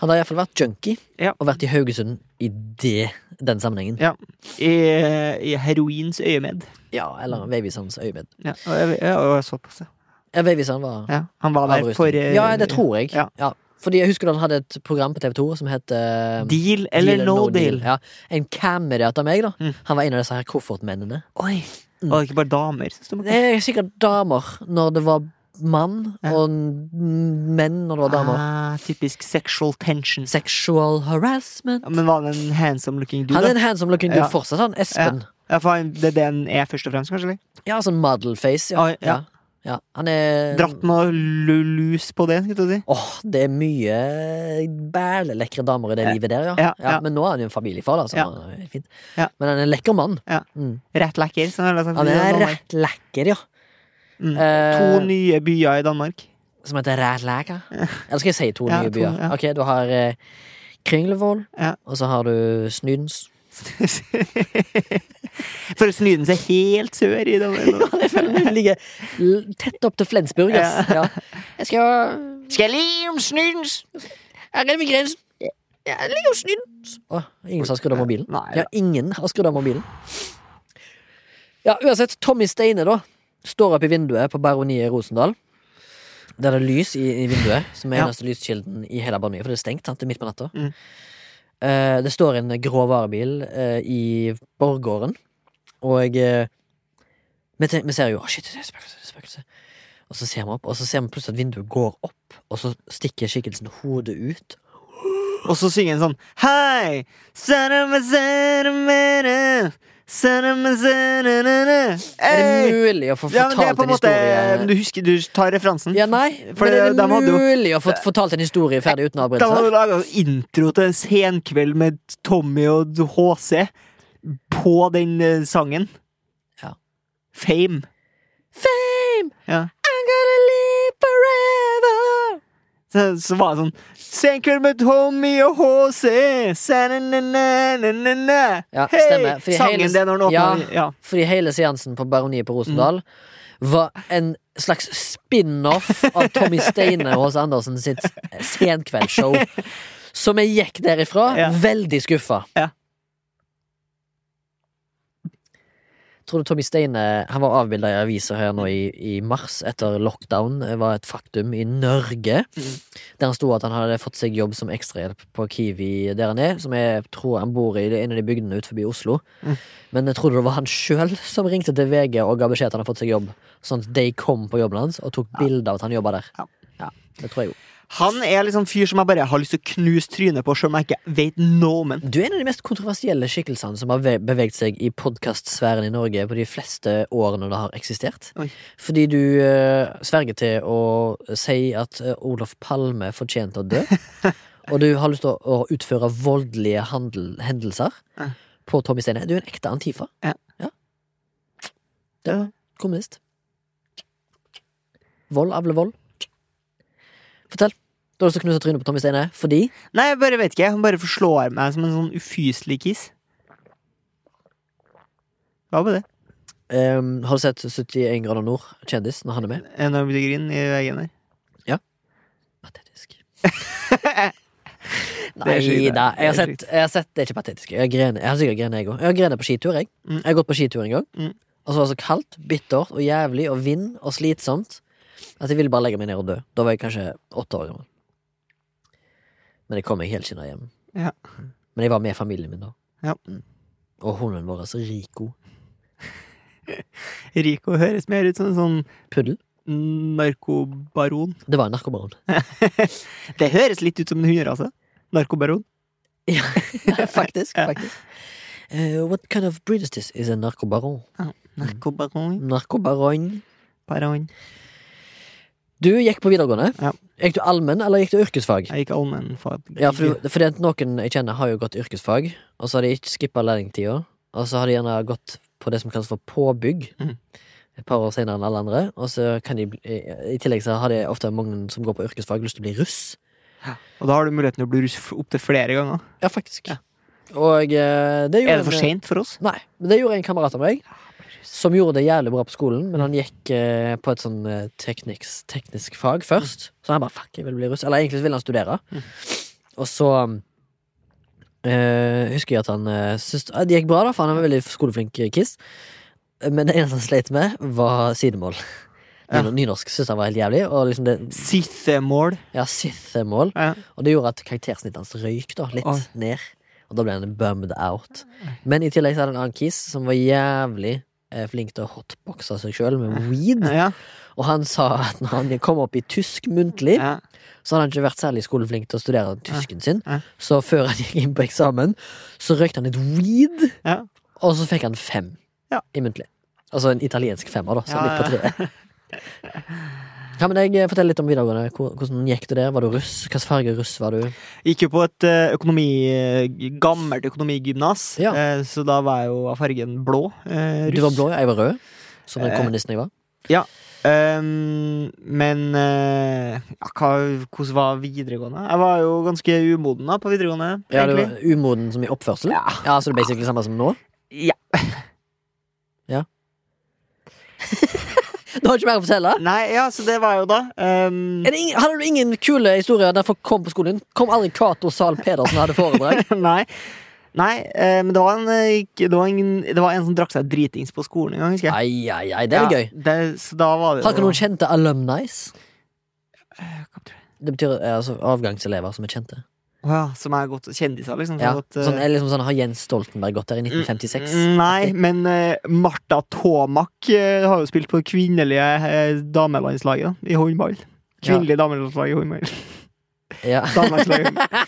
Han har iallfall vært junkie, Mm. Ja. og vært i Haugesund i det, den sammenhengen. Ja. I, I heroins øyemed. Ja, eller Veiviserens øyemed. Ja, og jeg, ja, og såpass, ja. Mm. Ja, Veiviseren var ja. Han var der avrusning. for eh, Ja, det tror jeg. ja. Ja. Fordi jeg husker da han hadde et program på TV2 som het eh, Deal eller no, deal. Ja, en camerat av meg, da. Mm. Han var en av disse her koffertmennene. Oi. Og ikke bare damer. som sto med- Mm. Det er sikkert damer når det var mann, og n- menn når det var damer. Ah, typisk sexual tension. Sexual harassment. Ja, men var han en handsome looking dude? Han da? er en handsome looking dude Ja. fortsatt, han. Espen. Ja, for han, det er det han er først og fremst, kanskje? Eller? Ja, sånn modelface. Ja. Ah, ja. Ja. ja. Han er Dratt noe lu- lus på det, skulle jeg til å si. Åh, det er mye bælelekre damer i det Ja. livet der, ja. Ja, ja. Men nå er han jo en familiefar, da, så Ja. han er fint. Ja. Men han er en lekker mann. Ja. Mm. Rett lekker. Sånn, eller, sånn, Han er sånn, rett lekker, ja. Mm. Eh, To nye byer i Danmark. Som heter Rælæka. Eller skal jeg si to Ja, nye to, byer? ja. Ok, du har eh, Kringlevold, Ja. og så har du Snydens. For Snyden seg helt sør i Danmark. Jeg føler du ligger l- tett opp til Flensburg, ass. Ja. Jeg skal Skal jeg om Snydens? Jeg er ved grensen. Jeg ligger hos Snydens. Å, ingen som har skrudd av mobilen? Nei, Ja, ingen har skrudd av mobilen. Ja, uansett, Tommy Steine, da, står opp i vinduet på Baroniet i Rosendal. Der det er lys i, i vinduet, som er Ja. eneste lyskilden i hele Baroniet, for det er stengt sant? Det er midt på natta. Mm. Eh, det står en grå varebil eh, i borggården, og eh, vi, ten- vi ser jo Å, shit, det er spøkelse, det er spøkelse. Og så ser vi opp, og så ser vi plutselig at vinduet går opp, og så stikker skikkelsen hodet ut. Og så synger han sånn Hei! Sarama, sarama, sarama, sarama. Er det Hey! mulig å få Ja, men det er fortalt på en en måte historie? Du husker, du tar referansen? Ja, nei, For men er det de hadde jo- mulig å få fortalt en historie ferdig uten Da må du avbrytelser? lage intro til en senkveld med Tommy og HC på den eh, sangen. Ja. Fame. Fame! Ja. I'm gonna live forever! Så, så var det sånn Senkveld med Tommy og HC. Sa-na-na-na-na-na. Ja, Hei! stemmer, fordi Sangen hele- det når den Ja. åpner ja. Fordi hele seansen på Baroniet på Rosendal var en slags spin-off av Tommy Steine og Åse Andersen sitt senkveldsshow. Så vi gikk derifra Ja. veldig skuffa. Ja. Tror du Tommy Steine Han var avbilda i aviser her nå i, i mars, etter lockdown eh, var et faktum i Norge. Mhm. Der han sto at han hadde fått seg jobb som ekstrahjelp på Kiwi der han er, som jeg tror han bor i det- en av de bygdene ut forbi Oslo. Mhm. Men jeg trodde det var han sjøl som ringte til VG og ga beskjed at han hadde fått seg jobb. Sånn at de kom på jobben hans og tok bilder av at han jobba der. Ja. Ja, det tror jeg jo. Han er liksom fyr som jeg bare har lyst til å knuse trynet på, selv om jeg ikke vet noe om han. Du er en av de mest kontroversielle skikkelsene som har ve- beveget seg i podkastsfæren i Norge på de fleste årene det har eksistert. Oi. Fordi du eh, sverger til å si at eh, Olof Palme fortjente å dø. og du har lyst til å, å utføre voldelige handel, hendelser Ja. på Tommy Steine. Du er en ekte Antifa. Ja. ja. Det er kommunist. Vold avler vold. Fortell. Du har lyst til å knuse trynet på Tommy Steine fordi Nei, jeg bare vet ikke. Han bare forslår meg som en sånn ufyselig kiss. Hva var det? Ehm, har du sett 71 grader nord? Kjendis, når han er med. En av gryn i veggen her. Patetisk. Det er sjukt, Nei det. da. Jeg har Det er sett, jeg har sett Det er ikke patetisk. Jeg har grenet, jeg har sikkert grenet, jeg òg. Jeg har grenet på skitur, jeg. Mm. Jeg har gått på skitur en gang. Mm. Og så var det så kaldt, bittert og jævlig og vind og slitsomt at jeg ville bare legge meg ned og dø. Da var jeg kanskje åtte år gammel. Men jeg kom meg helskinna hjem. Ja. Men jeg var med familien min da. Ja. Mm. Og hunden vår, Rico. Rico høres mer ut som en sånn Puddel. narkobaron. Det var en narkobaron. Det høres litt ut som en hunderase. Narkobaron. faktisk. Ja. faktisk. Eh, what kind of breed is this? Is a narkobaron. Narkobaron. Narkobaron. Baron. Du gikk på videregående. Ja. Gikk du allmenn, eller gikk du yrkesfag? Jeg gikk allmennfag. Ja, for, du- fordi at noen jeg kjenner har jo gått yrkesfag, og så har de ikke skippa lærlingtida. Og så har de gjerne gått på det som kalles for påbygg, Mhm. et par år senere enn alle andre. Og så kan de, bli- i i tillegg så har de ofte mange som går på yrkesfag, lyst til å bli russ. Og da har du muligheten til å bli russ opptil flere ganger. Ja, faktisk. Og eh, det Er gjorde det for en- seint for oss? Nei, men det gjorde en kamerat av meg. Som gjorde det jævlig bra på skolen, men han gikk eh, på et sånn eh, tekniks, teknisk fag først. Så han bare fuck, jeg vil bli russ. Eller egentlig så ville han studere. Og så eh, husker jeg at han eh, syntes eh, Det gikk bra, da, for han er en veldig skoleflink kiss. Men det eneste han sleit med, var sidemål. Ja. Ny- Nynorsk syntes han var helt jævlig. Og liksom det, Sithemål. ja, Sith-mål. Ja. Og det gjorde at karaktersnittet hans røyk da, litt Oi. ned. Og da ble han bummed out. Men i tillegg så hadde han en annen kis som var jævlig eh, flink til å hotboxe seg sjøl med weed. Ja. Og han sa at når han kom opp i tysk muntlig, Ja. så hadde han ikke vært særlig skoleflink til å studere tysken sin. Ja. Så før han gikk inn på eksamen, så røykte han litt weed, Ja. og så fikk han fem Ja. i muntlig. Altså en italiensk femmer, da, så Ja, litt på treet. Ja, men jeg eh, Fortell litt om videregående. Hvor- Hvordan gikk det der? Var du russ? Hvilken farge russ var du? Gikk jo på et eh, økonomi, eh, gammelt økonomigymnas, Ja. eh, så da var jeg jo av fargen blå. eh, Du var russ. blå, jeg var rød. Som den Eh. kommunisten jeg var. Um, men eh, ja, hva, hvordan var videregående? Jeg var jo ganske umoden da på videregående. Ja, du egentlig. var Umoden som i oppførsel? Ja. Så det er basically samme som nå? Ja. Ja. du har ikke mer å fortelle? Nei, ja, så det var jeg jo da. Um, Er det ingen, hadde du ingen kule historier der folk kom på skolen? din? Kom aldri Cato Zahl Pedersen og hadde foredrag? Nei. Nei, eh, men det var, en, eh, ikke- det, var en, det var en som drakk seg dritings på skolen en gang, husker jeg. Ai, ai, ai, det er gøy. Ja, det, så da var det Har jo- dere noen kjente alumnis? Eh, hva tror jeg? Det betyr eh, altså, avgangselever som er kjente. Å ja, som er godt kjendiser, liksom. som Ja. har gått, eh, Mm, Sånn, er liksom sånn, har Jens Stoltenberg gått der i 1956? Nei, men eh, Martha Tomak eh, har jo spilt på det kvinnelige eh, damelandslaget da, i håndball. Kvinnelig damelandslag i håndball. Ja. Damelandslag i håndball.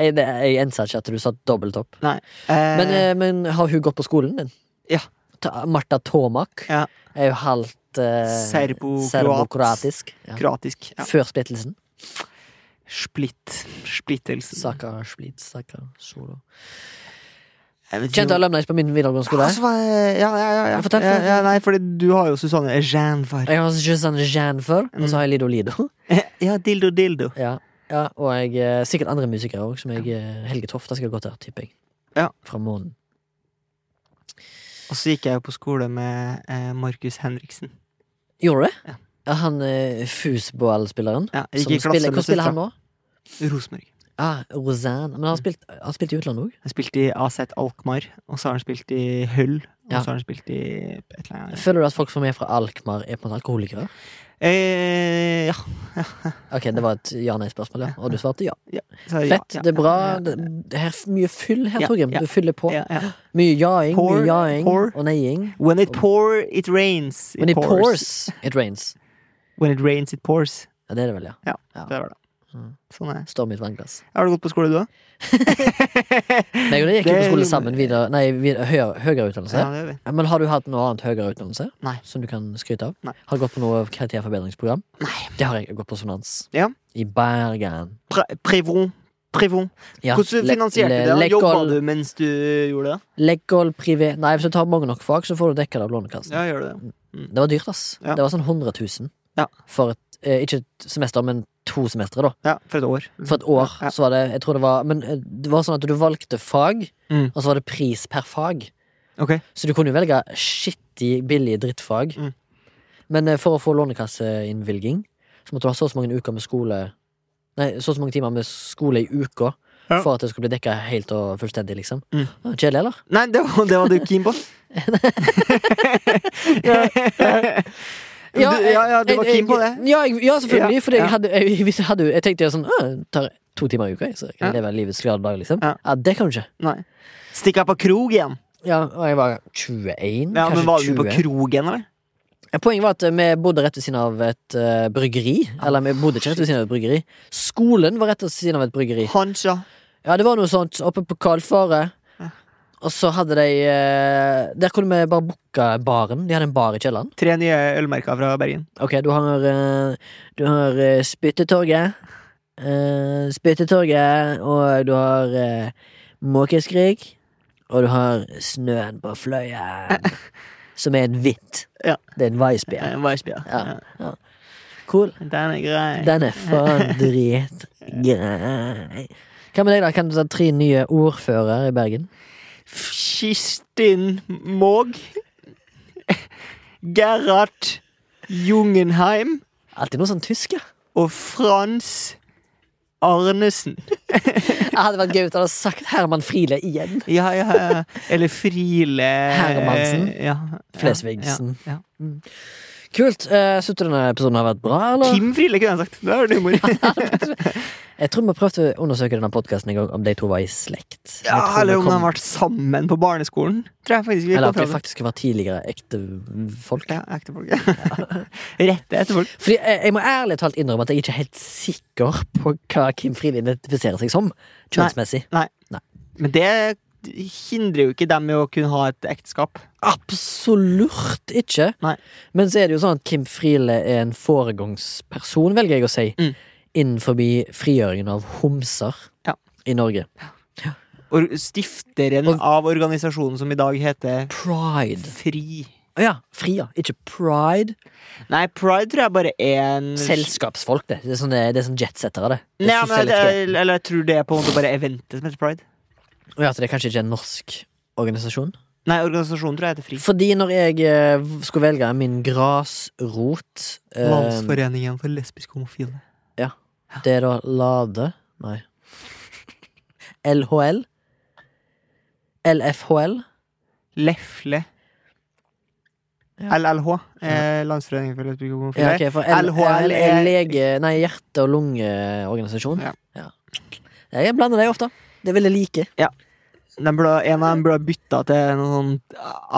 Jeg, det- jeg ensa ikke at du satt dobbelt opp. Eh, Men, eh, men har hun gått på skolen din? Ja. Ta, Marta Tomak Ja. er jo halvt eh, Serbo-kroat. serbokroatisk. Ja. Kroatisk. Ja. Før splittelsen. Splitt. Splittelse. Saka, split, saka, solo. Jeg vet ikke Kjente om- alumnis på min videregående skole. Hva som var- Ja, ja, ja. ja. Ja, fortell, ja, fortell. ja nei, fordi du har jo Susanne Janvar. Jeg har ikke sånn Jan før, og så har Mm. jeg Lido Lido. Ja, dildo, dildo. Ja, ja Og jeg, eh, sikkert andre musikere òg, som jeg eh, Helge Tofte skal gå til, tipper jeg. Ja. Fra månen. Og så gikk jeg jo på skole med eh, Markus Henriksen. Gjorde du det? Ja. Ja, han eh, fusballspilleren. Ja, jeg Som gikk i klasse spiller, med hvor spiller han søstera. nå? Rosenborg. Ah, Rosanne. Men han har spilt, han har spilt i utlandet òg. Han spilte i AZ Alkmaar, og så har han spilt i Hull. Og Ja. så har han spilt i et eller annet Føler du at folk som er fra Alkmaar, er på en måte alkoholikere? eh, Ja. Ok, det var et ja-nei-spørsmål, ja. Og du svarte ja. Så, ja, Fett, ja, det er bra. ja, Det det er mye fyll her, Ja, Torgrim. ja. Du fyller på. Ja, ja. Mye jaing, Pour, mye jaing pour. og neiing. When it pour, it rains. When it pours, it rains. When it rains, it pours. Ja, det er det vel, ja. Ja, Ja. det var det. Sånn er det. Storm i et vannglass. Har du gått på skole, du òg? Nei, og det gikk jo på Det er- skole sammen videre, nei, videre, høyere, høyere utdannelse. Ja, det gjør vi. Men har du hatt noe annet høyere utdannelse? Nei. Som du kan skryte av? Nei. Har du gått på noe karakterforbedringsprogram? Nei. Det har jeg. jeg har gått på Sonans. Ja. I Bergen. Pre- Prevon. Prevon. Ja, Hvordan le- finansierte le- du det? Jobba Lekol- du mens du gjorde det? Legal privé Nei, hvis du tar mange nok fag, så får du dekka det av Lånekassen. Ja, gjør du det? Det var dyrt, ass. Ja. Det var sånn 100 000 Ja. for et eh, Ikke et semester, men to semestre, da. Ja, for et år. For et år. Ja. Så var det Jeg tror det var Men eh, det var sånn at du valgte fag, Mm. og så var det pris per fag. Ok. Så du kunne jo velge skittig, billige drittfag. Mm. Men eh, for å få lånekasseinnvilging, så måtte du ha så og så mange uker med skole Nei, så og så mange timer med skole i uka Ja. for at det skulle bli dekka helt og fullstendig, liksom. Mm. Ja, Kjedelig, eller? Nei, det var, det var du keen på. Du- ja, ja, du var jeg- keen på jeg- det. Ja, jeg, ja selvfølgelig. Ja, fordi ja. jeg, hadde, jeg, hvis jeg, hadde, jeg tenkte jo sånn «Å, det tar to timer i uka, jeg, så jeg kan Ja. leve livets glade dag, liksom. Ja. Ja, det kan du ikke. Nei. Stikk av på krog igjen. Ja, og jeg var 21, Ja, men Var kanskje du på 20. krogen, eller? Ja, Poenget var at eh, vi bodde rett ved siden av et eh, bryggeri. Eller vi bodde ikke rett ved siden av et bryggeri. Skolen var rett ved siden av et bryggeri. Hancha. Ja, det var noe sånt oppe på Kalfare. Og så hadde de eh, Der kunne vi bare booke baren. De hadde en bar i kjelleren. Tre nye ølmerker fra Bergen. Ok, du har, eh, du har eh, Spyttetorget. Eh, Spyttetorget, og du har eh, Måkeskrik. Og du har Snøen på fløyen, som er en hvitt. Ja. Det er en Weissbier. Eh, Weissbier. Ja. Ja. Cool. Den er grei. Den er faen dritgrei. Hva med deg, da? Kan du ta tre nye ordfører i Bergen? Kistin Måg. Gerhard Jungenheim. Alltid noe sånn tysk, ja. Og Frans Arnesen. Det hadde vært gøy hvis du hadde sagt Herman Friele igjen. Ja, ja, ja. Eller Friele Hermansen. eh, Ja, ja, Flesvigsen. Ja, ja. Kult. Uh, Syns du denne episoden har vært bra, eller? Kim Friele kunne jeg sagt. Da er det humor. Jeg tror vi prøvde å undersøke denne podkasten en gang, om de to var i slekt. Jeg Ja, tror vi eller om de kom- har vært sammen på barneskolen. Tror jeg faktisk vi Eller at de kom fram til. faktisk var tidligere ekte folk. Ja, ekte folk. Rette etter folk. Fordi eh, jeg, jeg må ærlig talt innrømme at jeg ikke er helt sikker på hva Kim Friele identifiserer seg som, kjønnsmessig. Men det hindrer jo ikke dem i å kunne ha et ekteskap. Absolutt ikke. Nei. Men så er det jo sånn at Kim Friele er en foregangsperson, velger jeg å si, Mm. innenfor frigjøringen av homser Ja. i Norge. Or stifteren Og- av organisasjonen som i dag heter Pride. Fri. Å Ja, fri, ja. Ikke pride. Nei, Pride tror jeg bare er en Selskapsfolk, det. Det er sånn, det er sånn jetsettere, det. det Nei, er men, sosialitet. eller, eller jeg tror det er på en måte bare eventet som heter Pride. Å ja, så det er kanskje ikke en norsk organisasjon? Nei, organisasjonen tror jeg heter Fri. Fordi når jeg eh, skulle velge min grasrot eh, Landsforeningen for lesbiske homofile. Det er da Lade Nei. LHL. LFHL. Lefle. Ja. LLH. Eh, Landsforeningen for lesbiske homofile. Ja, ok, for L LHL LHL er er- lege... Nei, hjerte- og lungeorganisasjon. Ja. Ja. Jeg blander dem ofte. Det vil jeg like. Den burde, en av dem burde ha bytta til noe sånn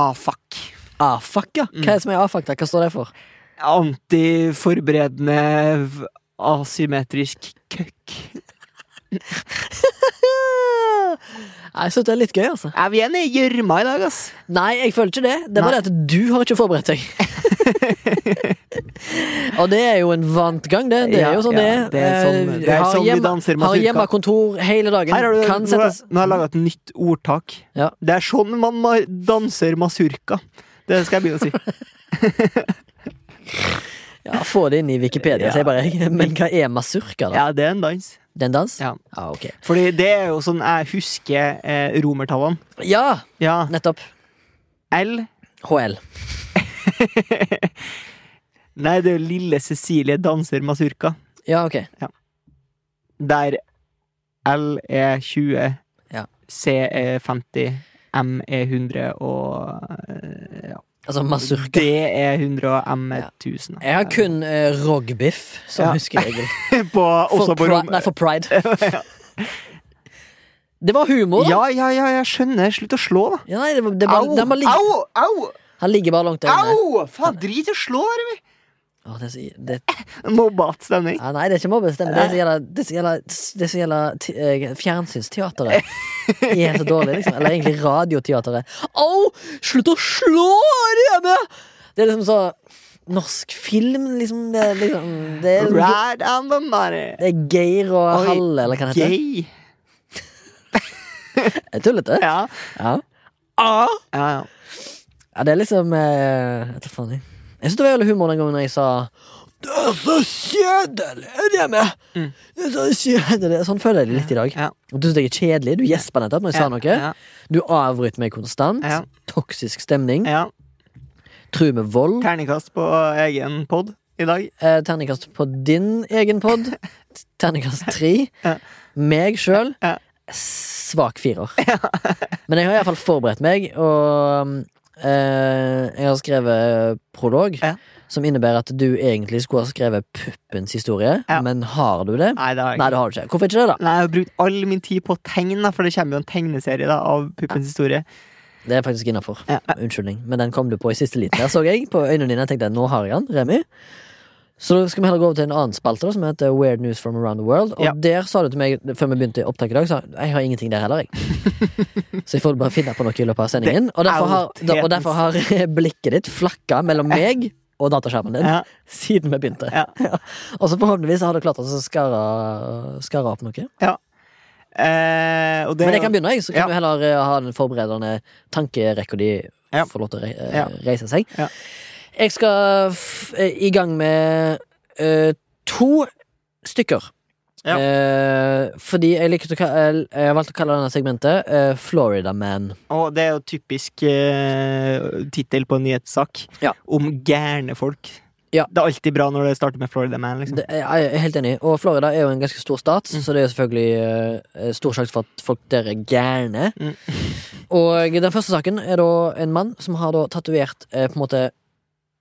AFAK. AFAK, ja. Mm. Hva er det som er AFAK? da? Hva står det for? Antiforberedende v- asymmetrisk køkk. Jeg syns det er litt gøy, altså. Er vi enige i gjørma i dag, ass? Nei, jeg føler ikke det. Det er bare det at du har ikke forberedt deg. og det er jo en vant gang, det. Det er Ja, jo sånn ja, det det er sånn- Eh, det er har sånn vi hjemme- danser mazurka. Har hjemmekontor hele dagen. Her har du, kan nå, settes nå har jeg laga et nytt ordtak. Ja. Det er sånn man ma- danser masurka. Det skal jeg begynne å si. ja, Få det inn i Wikipedia, Ja. sier bare jeg. Men hva er masurka, da? Ja, det er en dans. Det er en dans? Ja. Ah, ok. Fordi det er jo sånn jeg husker eh, romertallene. Ja, Ja. nettopp. L HL. Nei, det er jo Lille Cecilie danser masurka. Ja, ok. Der L er 20, Ja. C er 50, M er 100 og eh, ja. Altså masurka. D er 100 og M er Ja. 1000. Jeg har kun uh, rogbiff som Ja. huskeregel. på, For, også på pri- rom. nei, for pride. Det var humor, da. Ja, ja, ja, jeg skjønner. Slutt å slå, da. Ja, nei, det, var- det bare, den bare ligger, au, au, han ligger bare langt der inne. au! Faen, drit i å slå, Remi. Å, det, er så- det, Mobbat stemning. ja, nei, det er ikke mobbestemning. Det er så gjelder, det som gjelder, det som gjelder te- eh, fjernsynsteateret. Er så dårlig, liksom. Eller egentlig radioteateret. Au! Slutt å slå, Rene! Det er liksom så Norsk film, liksom. Det er, liksom, det er, Ride on the money. det er Geir og Oi, Halle, eller hva det heter. Gay. Er det Tullete? Ja. Ja. ja, ja. Ja, det er liksom eh, Jeg tar faen i. Jeg syns det var jævlig humor den gangen jeg sa Det er så kjedelig, Remi! Mm. Det er så kjedelig Sånn føler jeg det litt i dag. Ja. Du syns jeg er kjedelig. Du gjespa nettopp når jeg sa noe. Ja, Du avbryter meg konstant. Ja. Toksisk stemning. ja. Truer med vold. Terningkast på egen pod i dag. Eh, terningkast på din egen pod. terningkast tre. Ja. Meg sjøl Ja. svak firer. Men jeg har iallfall forberedt meg, og mm, eh, jeg har skrevet prolog, Ja. som innebærer at du egentlig skulle ha skrevet puppens historie, Ja. men har du det? Nei, det har jeg Nei, ikke. det har du ikke. Hvorfor ikke det, da? Nei, jeg har brukt all min tid på å tegne, da, for det kommer jo en tegneserie da, av puppens historie. Det er faktisk innafor. Ja. Unnskyldning. Men den kom du på i siste liten. Der så jeg på øynene dine. Jeg tenkte nå har jeg den, Remi. Så da skal vi heller gå over til en annen spalte da, som heter Weird News from Around the World. Og Ja. der sa du til meg før vi begynte opptaket i dag, så jeg har ingenting der heller, jeg. så jeg får bare finne på noe i løpet av sendingen. Og derfor har, Det er og derfor har blikket ditt flakka mellom meg og dataskjermen din Ja. siden vi begynte. Ja. Og så forhåpentligvis har du klart å skarre, skarre opp noe. Eh, og det, Men jeg kan begynne, jeg, så kan Ja. du heller eh, ha den forberedende tankerekka di Ja. får lov til å re eh, Ja. reise seg. Ja. Jeg skal f eh, i gang med eh, to stykker. Ja. Eh, fordi jeg, likte å ka eh, jeg valgte å kalle denne segmentet eh, Florida Man. og det er jo typisk uh, tittel på en nyhetssak Ja. om gærne folk. Ja. Det er alltid bra når det starter med Florida Man. Liksom. Det, jeg er helt enig. Og Florida er jo en ganske stor stat, Mm. så det er jo selvfølgelig eh, stor sjanse for at folk der er gærne. Mm. Og den første saken er da en mann som har da tatovert eh, på en måte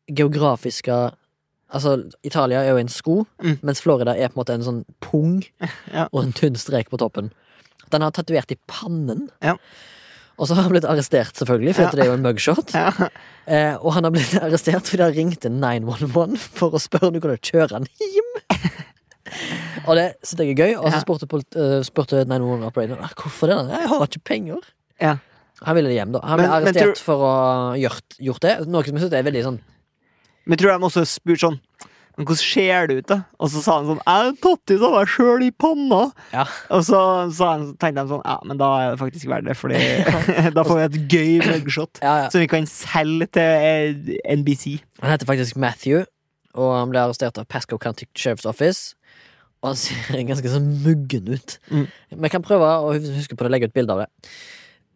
geografiske Altså, Italia er jo en sko, Mm. mens Florida er på en måte en sånn pung Ja. og en tynn strek på toppen. Den har tatovert i pannen. Ja. Og så har han blitt arrestert, selvfølgelig, for Ja. at det er jo en mugshot. Ja. Eh, og han har blitt arrestert fordi han ringte 911 for å spørre om du kunne kjøre han hjem. og det synes jeg er gøy. Og Ja. så spurte, polit- eh, spurte 911-operatoren hvorfor det. da? Jeg har ikke penger. Ja. Han ville hjem, da. Han ble Men- men arrestert tror- for å ha gjort, gjort det. Noe som jeg synes er veldig sånn Men tror jeg de også spurte sånn Men hvordan ser det ut, da? Og så sa han sånn Jeg har tatt ut av meg sjøl i panna. Ja. Og så, sa han, tenkte de sånn Ja, men da er det faktisk verdt det, Fordi da får vi et gøy mugshot. ja, ja. Som vi kan selge til eh, NBC. Han heter faktisk Matthew, og han ble arrestert av Pasco County Sheriff's Office. Og han ser ganske sånn muggen ut. Mm. Men jeg kan prøve å hus- huske på det, legge ut bilde av det.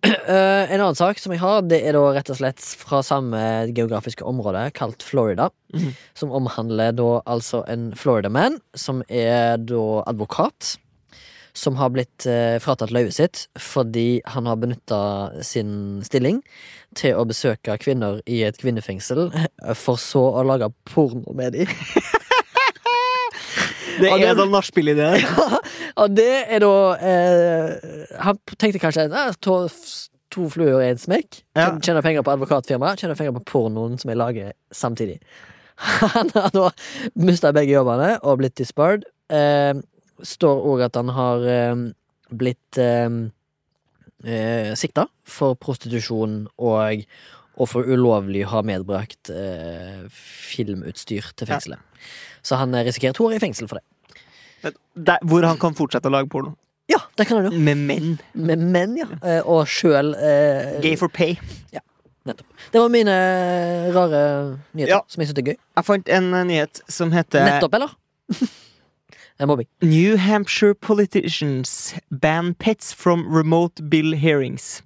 Eh, en annen sak som jeg har, det er da rett og slett fra samme geografiske område, kalt Florida. Mhm. Som omhandler da altså en Florida-man, som er da advokat. Som har blitt eh, fratatt løyvet sitt fordi han har benytta sin stilling til å besøke kvinner i et kvinnefengsel, for så å lage porno med dem. Det Ja, er det- sånn nachspiel-idé. Og det er da eh, Han tenkte kanskje eh, to, to fluer i en smekk. Ja. Tjen- Tjener penger på advokatfirmaet, tjener penger på pornoen som jeg lager samtidig. Han har da mista begge jobbene og blitt disbarred. Eh, står òg at han har eh, blitt eh, eh, sikta for prostitusjon og og for ulovlig å ha medbrakt eh, filmutstyr til Ja. fengselet. Så han eh, risikerer to år i fengsel for det. Der, hvor han kan fortsette å lage porno. Ja, det kan han jo. Med menn. Med menn, ja. Eh, Og sjøl eh, Gay for pay. Det var mine eh, rare nyheter Ja. som jeg syns er gøy. Jeg fant en eh, nyhet som heter Nettopp, eller? Det er mobbing. New Hampshire politicians ban pets from remote bill hearings.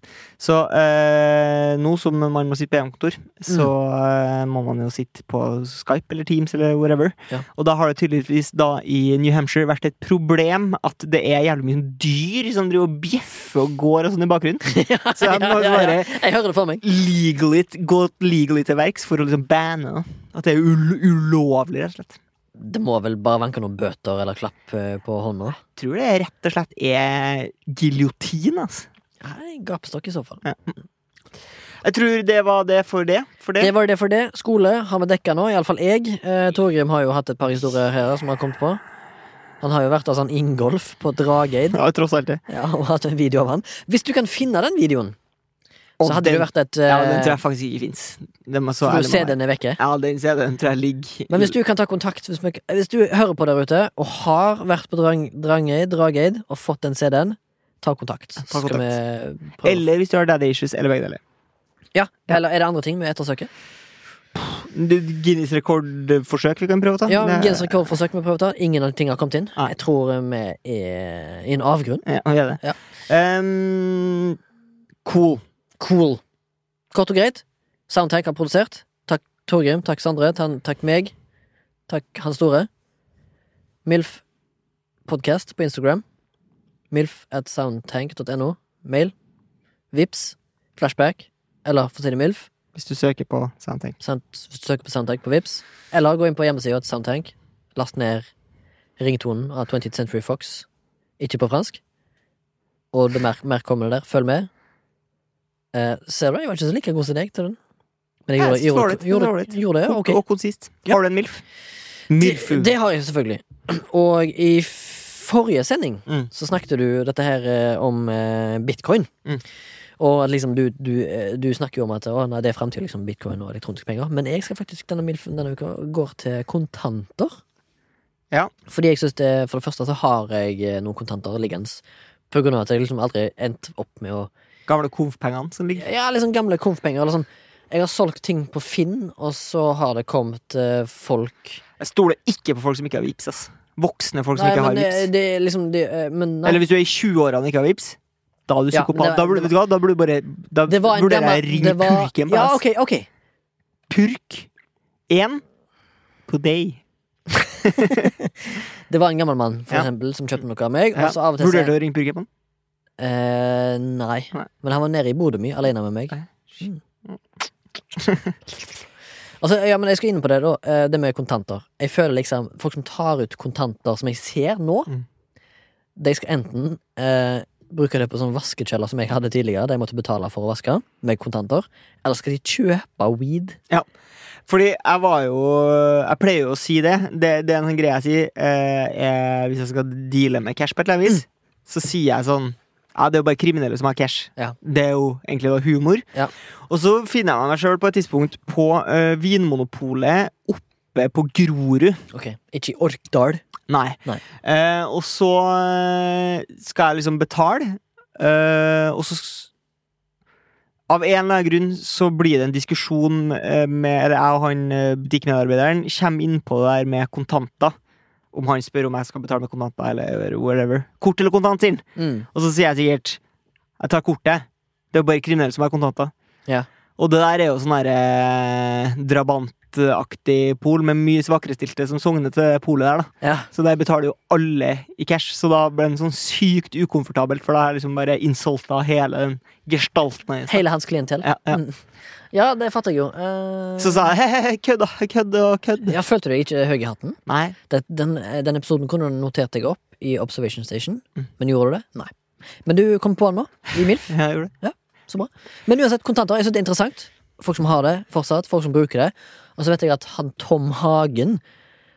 Så eh, nå som man må sitte på hjemmekontor, så eh, må man jo sitte på Skype eller Teams eller whatever. Mm. Ja. Og da har det tydeligvis da i New Hampshire vært et problem at det er jævlig mye sånn dyr som driver og bjeffer og går og sånn i bakgrunnen. Så jeg må bare Jeg hører det for meg. legally, gå legally til verks for å liksom banne. det. At det er ul ulovlig, rett og slett. Det må vel bare vanke noen bøter eller klapp eh, på hånda. tror det rett og slett er giljotin, altså. Nei, Gapestokk, i så fall. Jeg tror det var det for det. For det. Det var det for det. Skole har vi dekka nå, iallfall jeg. Eh, Torgrim har jo hatt et par historier her som har kommet på. Han har jo vært hos han Ingolf på Drageid. Ja, tross alt det. Ja, og hatt en video av han. Hvis du kan finne den videoen, Og så hadde det den- vært et eh, Ja, den tror jeg faktisk ikke fins. Den må så For ærlig du ser med meg. den er vekke. Ja, den CD-en tror jeg ligger Men hvis du kan ta kontakt Hvis, vi- hvis du hører på der ute og har vært på Drang, Drangeid, Drageid og fått den CD-en, ta kontakt. Så kontakt. Skal vi prøve. Eller hvis du har daddy issues, eller begge deler. ja, eller er det andre ting vi ettersøker? Du- Guinness rekordforsøk vi kan prøve å ta. Ja, Det- Genser rekordforsøk vi prøver å ta. Ingen av de ting har kommet inn. Nei. Jeg tror eh, vi er i en avgrunn. Ja, vi gjør det. Ja. Ehm, cool. Cool. Kort og greit. Soundtank har produsert. Takk Torgrim, takk Sondre, tan- takk meg. Takk Han Store. Milf Podcast på Instagram. Milf at soundtank.no. Mail. Vips. Flashback. Eller for å si det milf. Hvis du søker på Soundtank. Sant- Søk på Soundtank på Vips Eller gå inn på hjemmesida til Soundtank. Last ned ringtonen av 20th Century Fox. Ikke på fransk. Og det mer, mer kommer det der. Følg med. Eh, ser du, jeg var ikke så like god som deg til den. Men jeg Ja, gjorde, jeg synes det var litt- gjorde, gjorde, det var litt. gjorde, det, ja, ok. Og konsist. Har du en MILF? Det, det har jeg selvfølgelig. Og i forrige sending Mm. så snakket du dette her eh, om eh, bitcoin. Mm. Og at liksom du, du, eh, du snakker jo om at å, nei, det er framtida, liksom, bitcoin og elektroniske penger. Men jeg skal faktisk denne milfen denne uka går til kontanter. Ja. Fordi jeg synes det, for det første så har jeg eh, noen kontanter liggende. På grunn av at jeg liksom aldri endte opp med å Gamle KOV-pengene som ligger ja, liksom gamle konfpenger. Eller sånn. Jeg har solgt ting på Finn, og så har det kommet eh, folk Jeg stoler ikke på folk som ikke har vips, ass. Voksne folk som Nei, ikke men har det, vips. det er liksom det, eh, men, nei. Eller hvis du er i 20-årene og ikke har vips, da er du Ja, psykopat. det var- da, burde, det vet du hva, da burde du bare Da det var en burde dame- jeg ringe det var- purken på Ja, ass. ok, ok Purk 1 på deg. Det var en gammel mann, for Ja. eksempel, som kjøpte noe av meg. Ja. Og så av og til Vurderte så, du å ringe purken på den? eh, nei. Nei. Men han var nede i Bodø mi, alene med meg. Nei. Mm. altså, ja, men jeg skal inn på det, da. eh, Det med kontanter. Jeg føler liksom Folk som tar ut kontanter som jeg ser nå, Mm. de skal enten eh, bruke det på sånn vaskekjeller som jeg hadde tidligere, der jeg måtte betale for å vaske, med kontanter. Eller skal de kjøpe weed? Fordi jeg var jo Jeg pleier jo å si det. Det, det er en sånn greie jeg sier eh, jeg, hvis jeg skal deale med cash på et eller Mm. annet vis. Så sier jeg sånn Ja, det er jo bare kriminelle som har cash. Ja. Det er jo egentlig da humor. Ja. Og så finner jeg meg sjøl på et tidspunkt på eh, Vinmonopolet oppe på Grorud. Ok, Ikke i Orkdal. Nei. Nei. Eh, og så eh, skal jeg liksom betale, eh, og så s- Av en eller annen grunn så blir det en diskusjon eh, med eller jeg og han eh, butikkmedarbeideren kommer inn på det der med kontanter. Om han spør om jeg skal betale med kontanter eller whatever. Kort eller kontant, sier han. Mm. Og så sier jeg sikkert Jeg tar kortet. Det er jo bare kriminelle som har kontanter. Ja. Og det der er jo sånn derre eh, drabantaktig pol med mye svakrestilte som sogner til det polet der, da. Ja. Så der betaler jo alle i cash, så da ble det sånn sykt ukomfortabelt, for da har jeg liksom bare insulta hele den gestalten. hennes. Hele hans klientell. Ja, ja. Mm. Ja, det fatter jeg jo. Eh, Så sa jeg he-he, kødd og kødd og kødd. ja, Følte du deg ikke høy i hatten? Nei. Det, den, eh, den episoden kunne du notert deg opp i Observation Station, Mm. men gjorde du det? Nei. Men du kom på den nå, i MILF. Jeg gjorde det. Så bra. Men uansett, kontanter. Jeg synes det er interessant. Folk som har det fortsatt, folk som bruker det. Og så vet jeg at han Tom Hagen,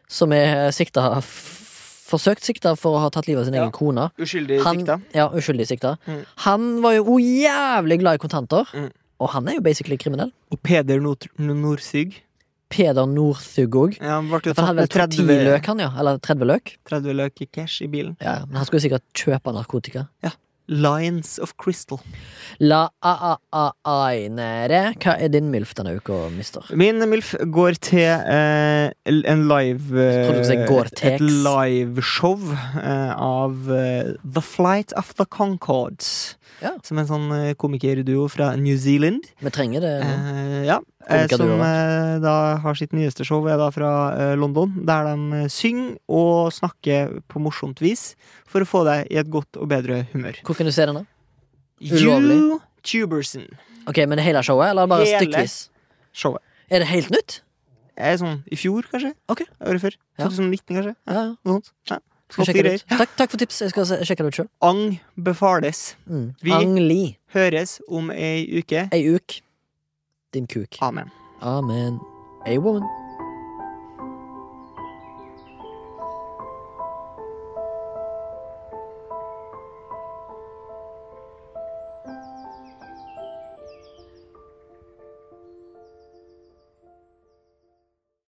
som er eh, sikta f- Forsøkt sikta for å ha tatt livet av sin Ja. egen kone. Uskyldig Han, sikta. ja, uskyldig sikta. Mm. Han var jo jævlig glad i kontanter, Mm. og han er jo basically kriminell. Og Peder Nord- Northug. Peder Northug òg. Ja, han ble jo For han tatt hadde med vel 10 30, løk, han, ja. Eller 30 løk. 30 løk i cash i bilen. Ja, men han skulle sikkert kjøpe narkotika. Lines of Crystal. La a-a-a-ainere. Hva er din MILF denne uka, mister? Min MILF går til eh, en live eh, trodde du skulle si går til Et X. liveshow eh, av eh, The Flight of the Concords. Ja. Som er en sånn eh, komikerduo fra New Zealand. Vi trenger det nå. Eh, ja. eh, Komikerduo, som eh, da har sitt nyeste show er da fra eh, London, der de eh, synger og snakker på morsomt vis for å få deg i et godt og bedre humør. Hvor kan du se denne? Ulovlig. YouTuberson-showet. Ok, men det hele showet, eller bare Hele. stykkevis? Er det helt nytt? Er sånn i fjor, kanskje? Ok. Året før. Ja. 2019, kanskje? Ja, ja. Noe sånt. Ja. Skal Flotte sjekke det greier. ut. Takk, takk for tips. Jeg skal se- sjekke det ut sjøl. Ang befales. Mm. Vi- Ang Lee. Høres om ei uke. Ei uk. Din kuk. Amen. Amen. A woman.